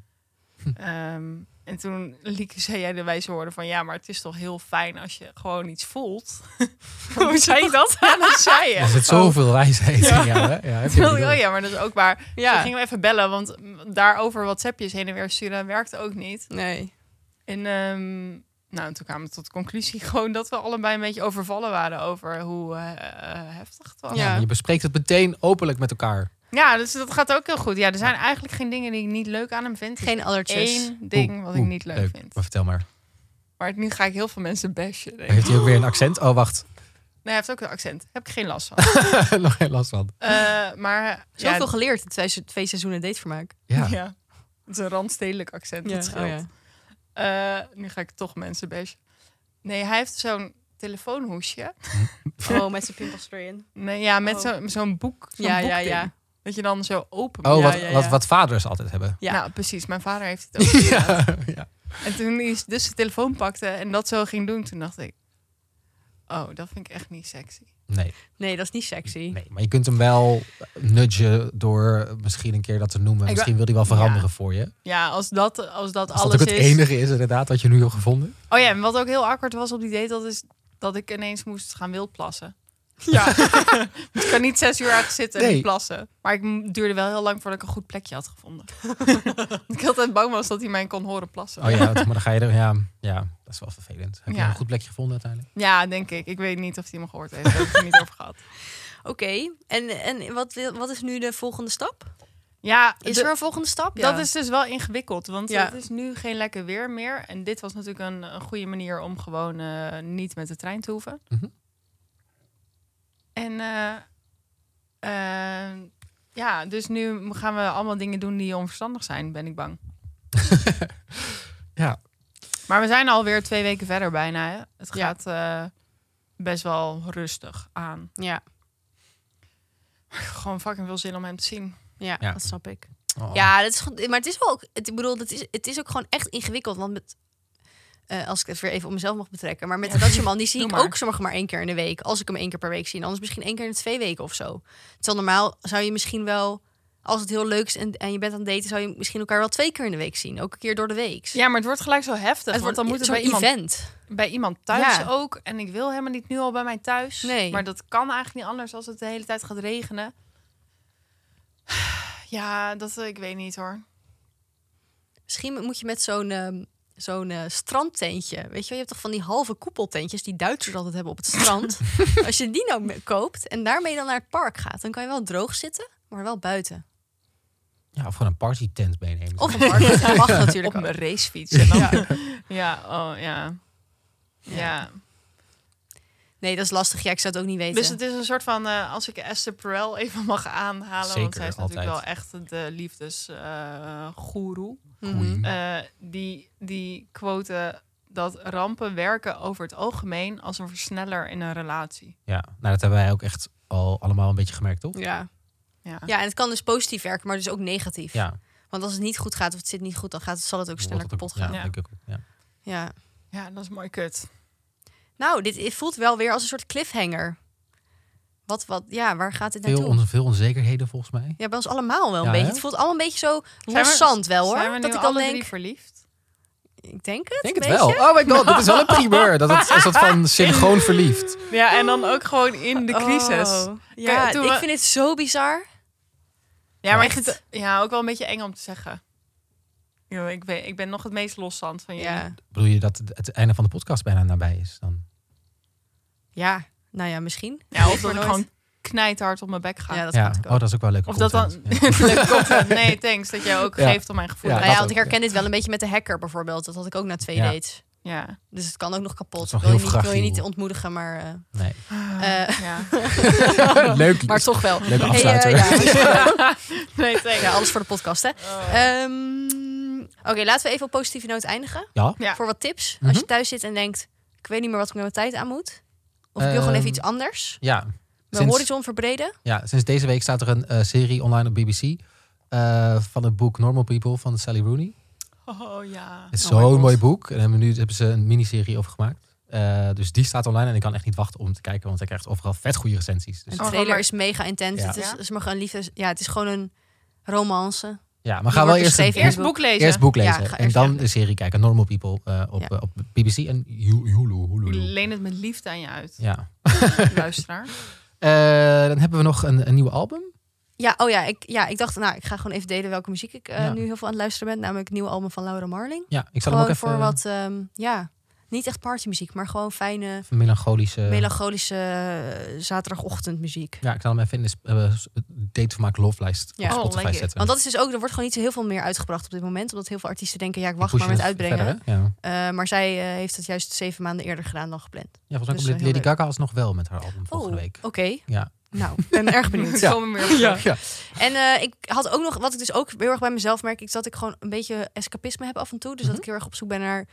S1: Ja.
S3: Ehm, en toen, Lieke, zei jij de wijze woorden van... ja, maar het is toch heel fijn als je gewoon iets voelt. *laughs* Hoe zei je dat? Ja, dat zei je.
S1: *laughs* Er zit zoveel wijsheid in jou, hè?
S3: *laughs*
S1: Ja, heb je
S3: Toen dacht ik,
S1: bedoeld.
S3: oh ja, maar dat is ook waar.
S2: Ja.
S3: Ja. Toen gingen we even bellen, want mm, daarover WhatsAppjes heen en weer sturen werkte ook niet.
S2: Nee.
S3: En ehm, nou, toen kwamen we tot de conclusie *laughs* gewoon dat we allebei een beetje overvallen waren over hoe eh, eh, heftig het was.
S1: Ja,
S3: Ja.
S1: Je bespreekt het meteen openlijk met elkaar.
S3: dus dat gaat ook heel goed. Ja, er zijn eigenlijk geen dingen die ik niet leuk aan hem vind. Er is
S2: Geen allertjes.
S3: Dus één ding
S1: Oeh,
S3: wat ik
S1: oeh,
S3: niet leuk, vind.
S1: Maar vertel maar.
S3: Maar nu ga ik heel veel mensen bashen. Denk ik.
S1: Heeft hij ook weer een accent? Oh, wacht. *laughs*
S3: Nee, hij heeft ook een accent. Heb ik geen last
S2: *laughs*
S3: van.
S1: Nog geen last van.
S3: Eh, maar ja,
S2: Zoveel geleerd in twee, se- twee seizoenen datevermaak.
S1: Ja.
S3: Ja. Het is een randstedelijk accent, dat scheelt.
S2: oh ja.
S3: Eh, nu ga ik toch mensen bashen. Nee, hij heeft zo'n telefoonhoesje.
S2: *laughs* Oh, met zijn pimpels erin.
S3: Nee, ja, met
S2: Oh.
S3: zo- zo'n boek. zo'n
S2: Ja, ja,
S3: boekding.
S2: ja.
S3: Dat je dan zo open
S1: Oh,
S3: moet-
S1: wat,
S2: ja, ja.
S1: Wat, wat vaders altijd hebben.
S2: ja.
S3: Nou, precies. Mijn vader
S1: *laughs*
S3: heeft het ook.
S1: Ja. ja.
S3: En toen hij dus zijn telefoon pakte en dat zo ging doen, toen dacht ik... Oh, dat vind ik echt niet sexy.
S1: Nee,
S2: Nee, dat is niet sexy.
S1: nee, maar je kunt hem wel nudgen door misschien een keer dat te noemen.
S3: ben-
S1: Misschien wil hij wel veranderen
S3: Ja.
S1: voor je.
S3: Ja, als dat, als dat
S1: Als dat
S3: alles
S1: ook het
S3: is...
S1: enige is inderdaad wat je nu hebt gevonden.
S3: Oh ja, en wat ook heel awkward was op die date, dat is dat ik ineens moest gaan wildplassen.
S2: Ja.
S3: *laughs* ik kan niet zes uur ergens zitten en
S1: Nee.
S3: niet plassen. Maar ik m- duurde wel heel lang voordat ik een goed plekje had
S1: *laughs*
S3: gevonden. Want ik altijd bang was dat hij mij kon horen plassen.
S1: Oh ja,
S2: *laughs*
S1: maar dan ga je er. Ja, ja dat is wel vervelend. Heb je
S3: Ja.
S1: een goed plekje gevonden uiteindelijk?
S3: Ja, denk ik. Ik weet niet of hij me gehoord heeft. Daar heb ik het niet over gehad.
S2: Oké, en, en wat, wil- wat is nu de volgende stap?
S3: Ja,
S2: Is
S3: de-
S2: er een volgende stap?
S3: dat is dus wel ingewikkeld. Want
S2: Ja.
S3: het is nu geen lekker weer meer. En dit was natuurlijk een, een goede manier om gewoon eh, niet met de trein te hoeven.
S1: Mhm.
S3: En eh, eh, ja, dus nu gaan we allemaal dingen doen die onverstandig zijn, ben ik bang.
S1: Ja.
S3: Maar we zijn alweer twee weken verder bijna. Hè? Het
S2: Ja.
S3: gaat eh, best wel rustig aan.
S2: Ja,
S3: Ik heb Gewoon fucking veel zin om hem te zien.
S2: ja,
S1: Ja.
S2: dat snap ik.
S1: Oh.
S2: Ja, dat is goed. Maar het is wel ook. Het, ik bedoel, het is, het is ook gewoon echt ingewikkeld. Want met, eh, als ik het weer even op mezelf mag betrekken. Maar met de Dutchman, die zie
S3: *laughs* Doe
S2: ik
S3: maar.
S2: ook sommige maar één keer in de week. Als ik hem één keer per week zie. En Anders misschien één keer in de twee weken of zo. Terwijl normaal zou je misschien wel. Als het heel leuk is en, en je bent aan het daten, zou je misschien elkaar wel twee keer in de week zien. Ook een keer door de week.
S3: Ja, maar het wordt gelijk zo heftig.
S2: het
S3: want
S2: wordt
S3: dan moet er
S2: zo'n
S3: bij iemand
S2: event.
S3: bij iemand thuis
S2: Ja.
S3: ook. En ik wil helemaal niet nu al bij mij thuis.
S2: Nee.
S3: Maar dat kan eigenlijk niet anders als het de hele tijd gaat regenen. *sighs* Ja, dat eh, ik weet niet hoor.
S2: Misschien moet je met zo'n ehm, zo'n eh, strandtentje. Weet je, wel, je hebt toch van die halve koepeltentjes die Duitsers altijd hebben op het
S3: *laughs*
S2: strand. Als je die nou me- koopt en daarmee dan naar het park gaat, dan kan je wel droog zitten, maar wel buiten.
S1: Ja, of gewoon een partytent meenemen.
S2: Of een park. Dat
S3: *laughs*
S2: mag natuurlijk
S3: Op
S2: ook.
S3: mijn racefiets. En dan... ja. oh ja. Ja.
S2: Nee, dat is lastig. Ja, ik zou het ook niet weten.
S3: Dus het is een soort van, eh, als ik Esther Perel even mag aanhalen,
S1: Zeker,
S3: want zij is natuurlijk
S1: altijd.
S3: wel echt de liefdesgoeroe.
S2: Mhm.
S1: Goeie.
S3: Eh, die, die quote eh, dat rampen werken over het algemeen als een versneller in een relatie.
S1: Ja, nou dat hebben wij ook echt al allemaal een beetje gemerkt, toch?
S2: Ja.
S3: Ja.
S2: ja, en het kan dus positief werken, maar dus ook negatief.
S1: Ja,
S2: Want als het niet goed gaat of het zit niet goed, dan gaat het, zal het ook sneller
S1: wordt het ook-
S2: kapot gaan.
S1: Ja,
S3: Ja.
S1: denk ik ook, ja.
S2: ja.
S3: Ja, dat is mooi kut.
S2: Nou, dit het voelt wel weer als een soort cliffhanger. Wat, wat, ja, waar gaat dit
S1: Veel,
S2: naartoe?
S1: on- veel onzekerheden volgens mij.
S2: Ja, bij ons allemaal wel een
S1: Ja,
S2: beetje.
S1: hè?
S2: Het voelt allemaal een beetje zo
S3: Zijn we-
S2: los zand wel hoor.
S3: Zijn we nu
S2: dat ik dan
S3: alle
S2: denk,
S3: drie verliefd?
S2: ik denk het.
S1: denk
S2: een
S1: het wel.
S2: beetje.
S1: Oh my god, dat is wel een
S2: *laughs*
S1: primeur. Dat het, is dat van synchroon verliefd.
S3: Ja, en dan ook gewoon in de crisis.
S2: Oh, Ja,
S3: toen
S2: ik
S3: we-
S2: vind het zo bizar.
S3: Ja, maar ik
S2: Echt?
S3: vind het ja, ook wel een beetje eng om te zeggen. Ja, ik, ben, ik ben nog het meest loszand van jullie.
S2: Ja.
S1: Bedoel je dat het het einde van de podcast bijna nabij is? Dan?
S2: ja, nou ja, misschien.
S3: Ja, of
S2: Ik word
S3: dat ik
S2: nooit-
S3: gewoon knijthard op mijn bek ga.
S2: Ja, dat
S1: ja,
S2: kan ik
S1: oh,
S2: ook.
S1: dat is ook wel leuk.
S3: of dat dan... Leuk content. nee, thanks dat jij ook
S1: Ja.
S3: geeft om mijn gevoel.
S1: Ja,
S2: Nou
S3: Ja.
S2: ja,
S1: dat
S2: want
S1: ook,
S2: ik herken dit wel een beetje met de hacker bijvoorbeeld. Dat had ik ook na twee
S1: Ja.
S2: dates.
S3: Ja.
S2: Dus het kan ook nog kapot.
S1: is nog
S2: wil, je
S1: heel
S2: niet, wil je
S1: fragiel.
S2: niet ontmoedigen, maar,
S1: *laughs*
S2: eh, *laughs*
S1: Nee.
S2: eh,
S1: leuk.
S2: maar toch wel.
S1: Leuke
S2: Hey, eh,
S1: afsluiter.
S2: ja, dus-
S3: *laughs* Nee, thanks.
S2: ja, alles voor de podcast,
S3: *laughs*
S2: hè.
S3: Oh.
S2: Ehm, Oké, laten we even op positieve noot eindigen.
S1: Ja.
S3: Ja.
S2: Voor wat tips.
S1: Mhm.
S2: Als je thuis zit en denkt, ik weet niet meer wat ik met mijn tijd aan moet. Of ik wil gewoon
S1: Ehm,
S2: even iets anders.
S1: Ja.
S2: Mijn
S1: Sinds-
S2: horizon verbreden.
S1: Ja, sinds deze week staat er een eh, serie online op BBC. eh, van het boek Normal People van Sally Rooney.
S3: Oh ja.
S1: Het is
S2: Oh my
S1: zo'n
S2: God.
S1: mooi boek. En hebben nu hebben ze een miniserie over gemaakt. Eh, dus die staat online en ik kan echt niet wachten om te kijken, want hij krijgt overal vet goede recensies. Dus
S2: De
S3: Oh,
S2: trailer
S3: maar-
S2: is mega intens.
S1: Ja.
S2: Het is,
S3: Ja?
S2: het is maar gewoon liefde. Ja, het is gewoon een romance.
S1: Ja, maar
S2: Die
S1: ga wel
S2: wordt dus
S1: eerst
S2: beschreven in
S1: eerst
S2: het boek lezen.
S1: Eerst boek
S2: Ja,
S1: lezen.
S2: ga
S1: en
S2: eerst
S1: dan de serie kijken. Normal People eh, op, eh, op BBC en Hulu. Hulu, Hulu.
S3: Leen het met liefde aan je uit.
S1: *laughs* Ja.
S3: Luisteraar.
S1: Eh, dan hebben we nog een, een nieuw album.
S2: Ja, oh ja ik, ja, ik dacht, nou, ik ga gewoon even delen welke muziek ik eh,
S1: Ja.
S2: nu heel veel aan het luisteren ben. Namelijk het nieuwe album van Laura Marling.
S1: Ja, ik zal
S2: gewoon
S1: hem ook even... eh,
S2: voor wat, ehm, ja, niet echt partymuziek, maar gewoon fijne,
S1: Even melancholische...
S2: melancholische eh, zaterdagochtendmuziek.
S1: ja, ik zal hem even in de sp- eh, s- datevermaak lovelijst
S2: Ja.
S1: op
S2: Oh,
S1: Spotify
S3: lekker.
S1: zetten.
S2: Want dat is dus ook, er wordt gewoon niet zo heel veel meer uitgebracht op dit moment. Omdat heel veel artiesten denken, ja, ik wacht
S1: push
S2: maar
S1: je
S2: met
S1: het
S2: uitbrengen.
S1: verder, hè? Ja.
S2: Eh, maar zij eh, heeft het juist zeven maanden eerder gedaan dan gepland.
S1: Ja, volgens mij
S2: Dus,
S1: komt
S2: eh,
S1: Lady
S2: heel leuk.
S1: Gaga alsnog wel met haar album volgende
S2: Oh,
S1: week.
S2: Oké.
S1: Ja.
S2: Nou, ik ben erg
S1: *laughs*
S2: benieuwd.
S1: Ja.
S3: Komen we weer op
S2: Oh,
S3: terug.
S1: Ja.
S2: En eh, ik had ook nog, wat ik dus ook heel erg bij mezelf merk, is dat ik gewoon een beetje escapisme heb af en toe. Dus dat ik heel erg op zoek ben naar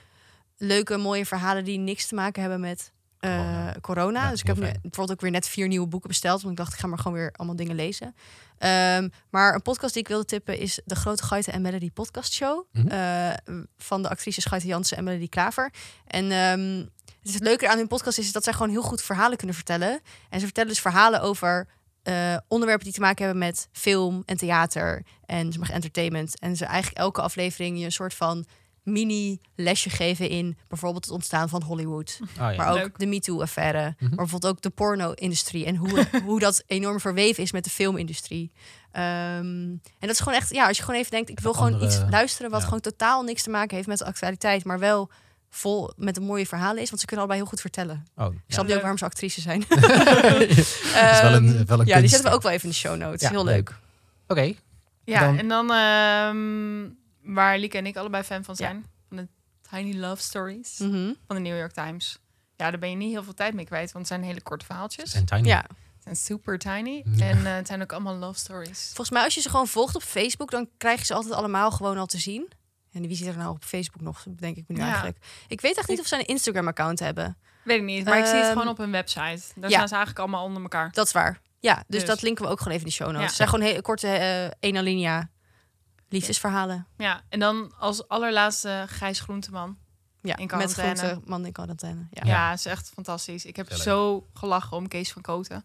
S2: leuke, mooie verhalen die niks te maken hebben met eh, corona.
S1: Ja,
S2: dus ik
S1: heel
S2: heb nu
S1: fijn.
S2: bijvoorbeeld ook weer net vier nieuwe boeken besteld. Want ik dacht, ik ga maar gewoon weer allemaal dingen lezen. Ehm, maar een podcast die ik wilde tippen is de Grote Gaiten en Melody Podcast Show.
S1: Mhm.
S2: eh, van de actrices Gaiten Jansen en Melody Klaver. En ehm, het, is het leuke aan hun podcast is dat zij gewoon heel goed verhalen kunnen vertellen. En ze vertellen dus verhalen over eh, onderwerpen die te maken hebben met film en theater en zeg maar, entertainment. En ze eigenlijk elke aflevering je een soort van mini-lesje geven in bijvoorbeeld het ontstaan van Hollywood.
S1: Oh, ja. Mhm.
S2: Maar ook
S3: Leuk.
S2: de Me-too-affaire. Maar bijvoorbeeld ook de porno-industrie. En hoe,
S1: *laughs*
S2: hoe dat enorm verweven is met de filmindustrie. Ehm, en dat is gewoon echt... Ja, als je gewoon even denkt... Ik wil gewoon
S1: andere-
S2: iets luisteren... wat
S1: ja.
S2: gewoon totaal niks te maken heeft met de actualiteit. Maar wel vol met een mooie verhalen is. Want ze kunnen allebei heel goed vertellen.
S1: Oh,
S2: Ik
S1: ja.
S2: snap nu ook waarom ze actrice zijn.
S1: is wel een- wel een
S2: Ehm, *laughs* ja, die
S1: kunst.
S2: zetten we ook wel even in de show notes.
S1: Ja,
S2: heel leuk.
S1: Oké,
S3: Ja,
S1: Dan-
S3: en dan ehm, waar Lieke en ik allebei fan van zijn. Van de Tiny Love Stories
S2: Mhm.
S3: van de New York Times. Ja, daar ben je niet heel veel tijd mee kwijt, want het zijn hele korte verhaaltjes.
S1: en Tiny.
S2: Ja.
S3: Het zijn super tiny. En eh, het zijn ook allemaal love stories.
S2: Volgens mij als je ze gewoon volgt op Facebook... dan krijg je ze altijd allemaal gewoon al te zien. En wie zit er nou op Facebook nog, denk ik me nu
S3: Ja.
S2: eigenlijk. Ik weet echt niet of ze een Instagram-account hebben.
S3: Weet ik niet, maar ik zie het
S2: Ehm,
S3: gewoon op hun website. Daar
S2: ja.
S3: staan ze eigenlijk allemaal onder elkaar.
S2: Dat is waar. Ja, dus,
S3: Dus.
S2: dat linken we ook gewoon even in de show notes.
S3: Ja.
S2: Het zijn gewoon hele korte eh ene alinea liefdesverhalen.
S3: Ja, en dan als allerlaatste Gijs Groenteman.
S2: Ja,
S3: In
S2: met
S3: quarantaine.
S2: grote man in quarantaine. Ja.
S3: Ja, is echt fantastisch. Ik heb zo gelachen om Kees van
S2: *laughs*
S3: Koten.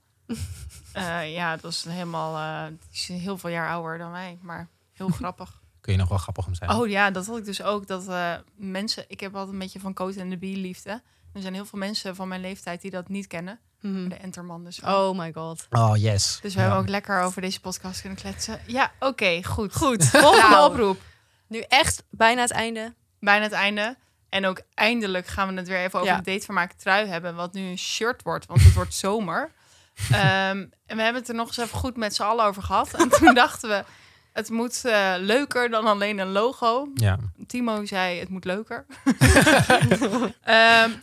S3: Eh, ja, dat is helemaal... eh, die is heel veel jaar ouder dan wij, maar
S2: *laughs*
S3: heel grappig.
S1: Kun je nog wel grappig om zijn.
S3: Oh ja, dat had ik dus ook. Dat eh, mensen, ik heb altijd een beetje van Coat en de Bee liefde. Er zijn heel veel mensen van mijn leeftijd die dat niet kennen.
S2: Mhm.
S3: De Enterman dus. ook.
S2: Oh my god.
S1: Oh, yes.
S3: Dus we
S1: Ja.
S3: hebben ook lekker over deze podcast kunnen kletsen. Ja, oké, goed. *laughs* Goed. Volgende
S2: Nou.
S3: oproep.
S2: Nu echt bijna het einde.
S3: Bijna het einde. En ook eindelijk gaan we het weer even over
S2: Ja.
S3: de datevermaak trui hebben. Wat nu een shirt wordt, want het wordt zomer. Ehm, en we hebben het er nog eens even goed met z'n allen over gehad. En toen *laughs* dachten we, het moet eh, leuker dan alleen een logo.
S1: Ja.
S3: Timo zei, het moet
S2: *laughs*
S3: leuker. *laughs* Ehm,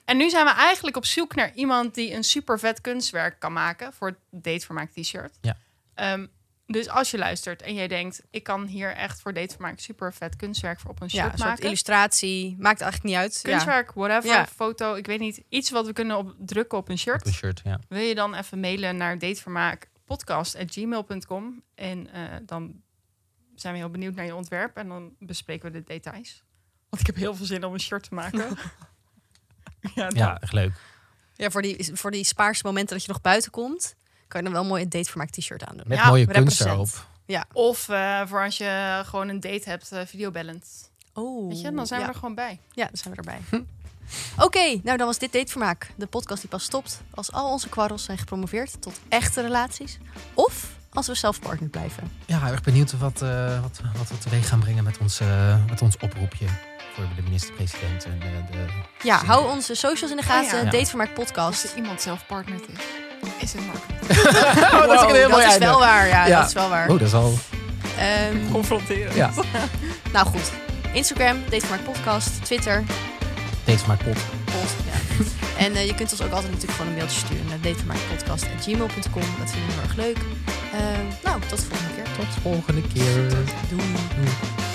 S3: en nu zijn we eigenlijk op zoek naar iemand die een super vet kunstwerk kan maken voor het datevermaak t-shirt.
S1: Ja.
S3: Ehm, dus als je luistert en jij denkt, ik kan hier echt voor datevermaak super vet kunstwerk voor op een
S2: Ja,
S3: shirt
S2: een soort
S3: maken.
S2: illustratie. Maakt eigenlijk niet uit. Ja.
S3: Kunstwerk, whatever,
S2: Ja.
S3: foto, ik weet niet. Iets wat we kunnen op, drukken op een
S1: Op een
S3: shirt.
S1: shirt, ja.
S3: Wil je dan even mailen naar datevermaakpodcast.gmail.com. En eh, dan zijn we heel benieuwd naar je ontwerp. En dan bespreken we de details. Want ik heb heel veel zin om een shirt te maken. *laughs* ja, dat-
S1: Ja, echt leuk.
S2: Ja, voor die, voor die spaarste momenten dat je nog buiten komt, kan je dan wel mooi een datevermaak t-shirt aandoen.
S1: Met
S3: Ja,
S1: mooie kunst
S2: represent.
S1: erop.
S3: Of eh, voor als je gewoon een date hebt, eh, videobellend.
S2: Oh,
S3: Weet je, dan zijn
S2: ja.
S3: we er gewoon bij.
S2: Ja, dan zijn we erbij. *laughs* Oké, nou dan was dit Datevermaak. De podcast die pas stopt als al onze kwarrels zijn gepromoveerd tot echte relaties. Of als we zelf partner blijven.
S1: Ja, erg benieuwd wat, eh, wat, wat we teweeg gaan brengen met ons, eh, met ons oproepje voor de minister-president. En, eh, de...
S2: *laughs* Ja, hou onze socials in de gaten.
S1: Oh,
S3: Ah,
S1: ja.
S2: Datevermaak
S3: Als
S2: podcast.
S3: er iemand zelf partnerd is, is het makkelijk.
S1: Oh,
S2: Wow, dat is wel waar, ja,
S1: Ja.
S2: dat is wel waar.
S1: Oh, dat is al...
S2: Ehm,
S3: Confronteren.
S1: Ja,
S2: *laughs* nou goed, Instagram, Datevermaak podcast, Twitter,
S1: deze maakt pop.
S2: Pod,
S1: *laughs*
S2: ja. En eh, je kunt ons ook altijd natuurlijk gewoon een mailtje sturen naar datevermaakpodcast.gmail.com. Dat Ehm, vinden we heel erg leuk. Eh, nou, tot de volgende keer.
S1: Tot volgende keer.
S2: Doei.
S1: Doei.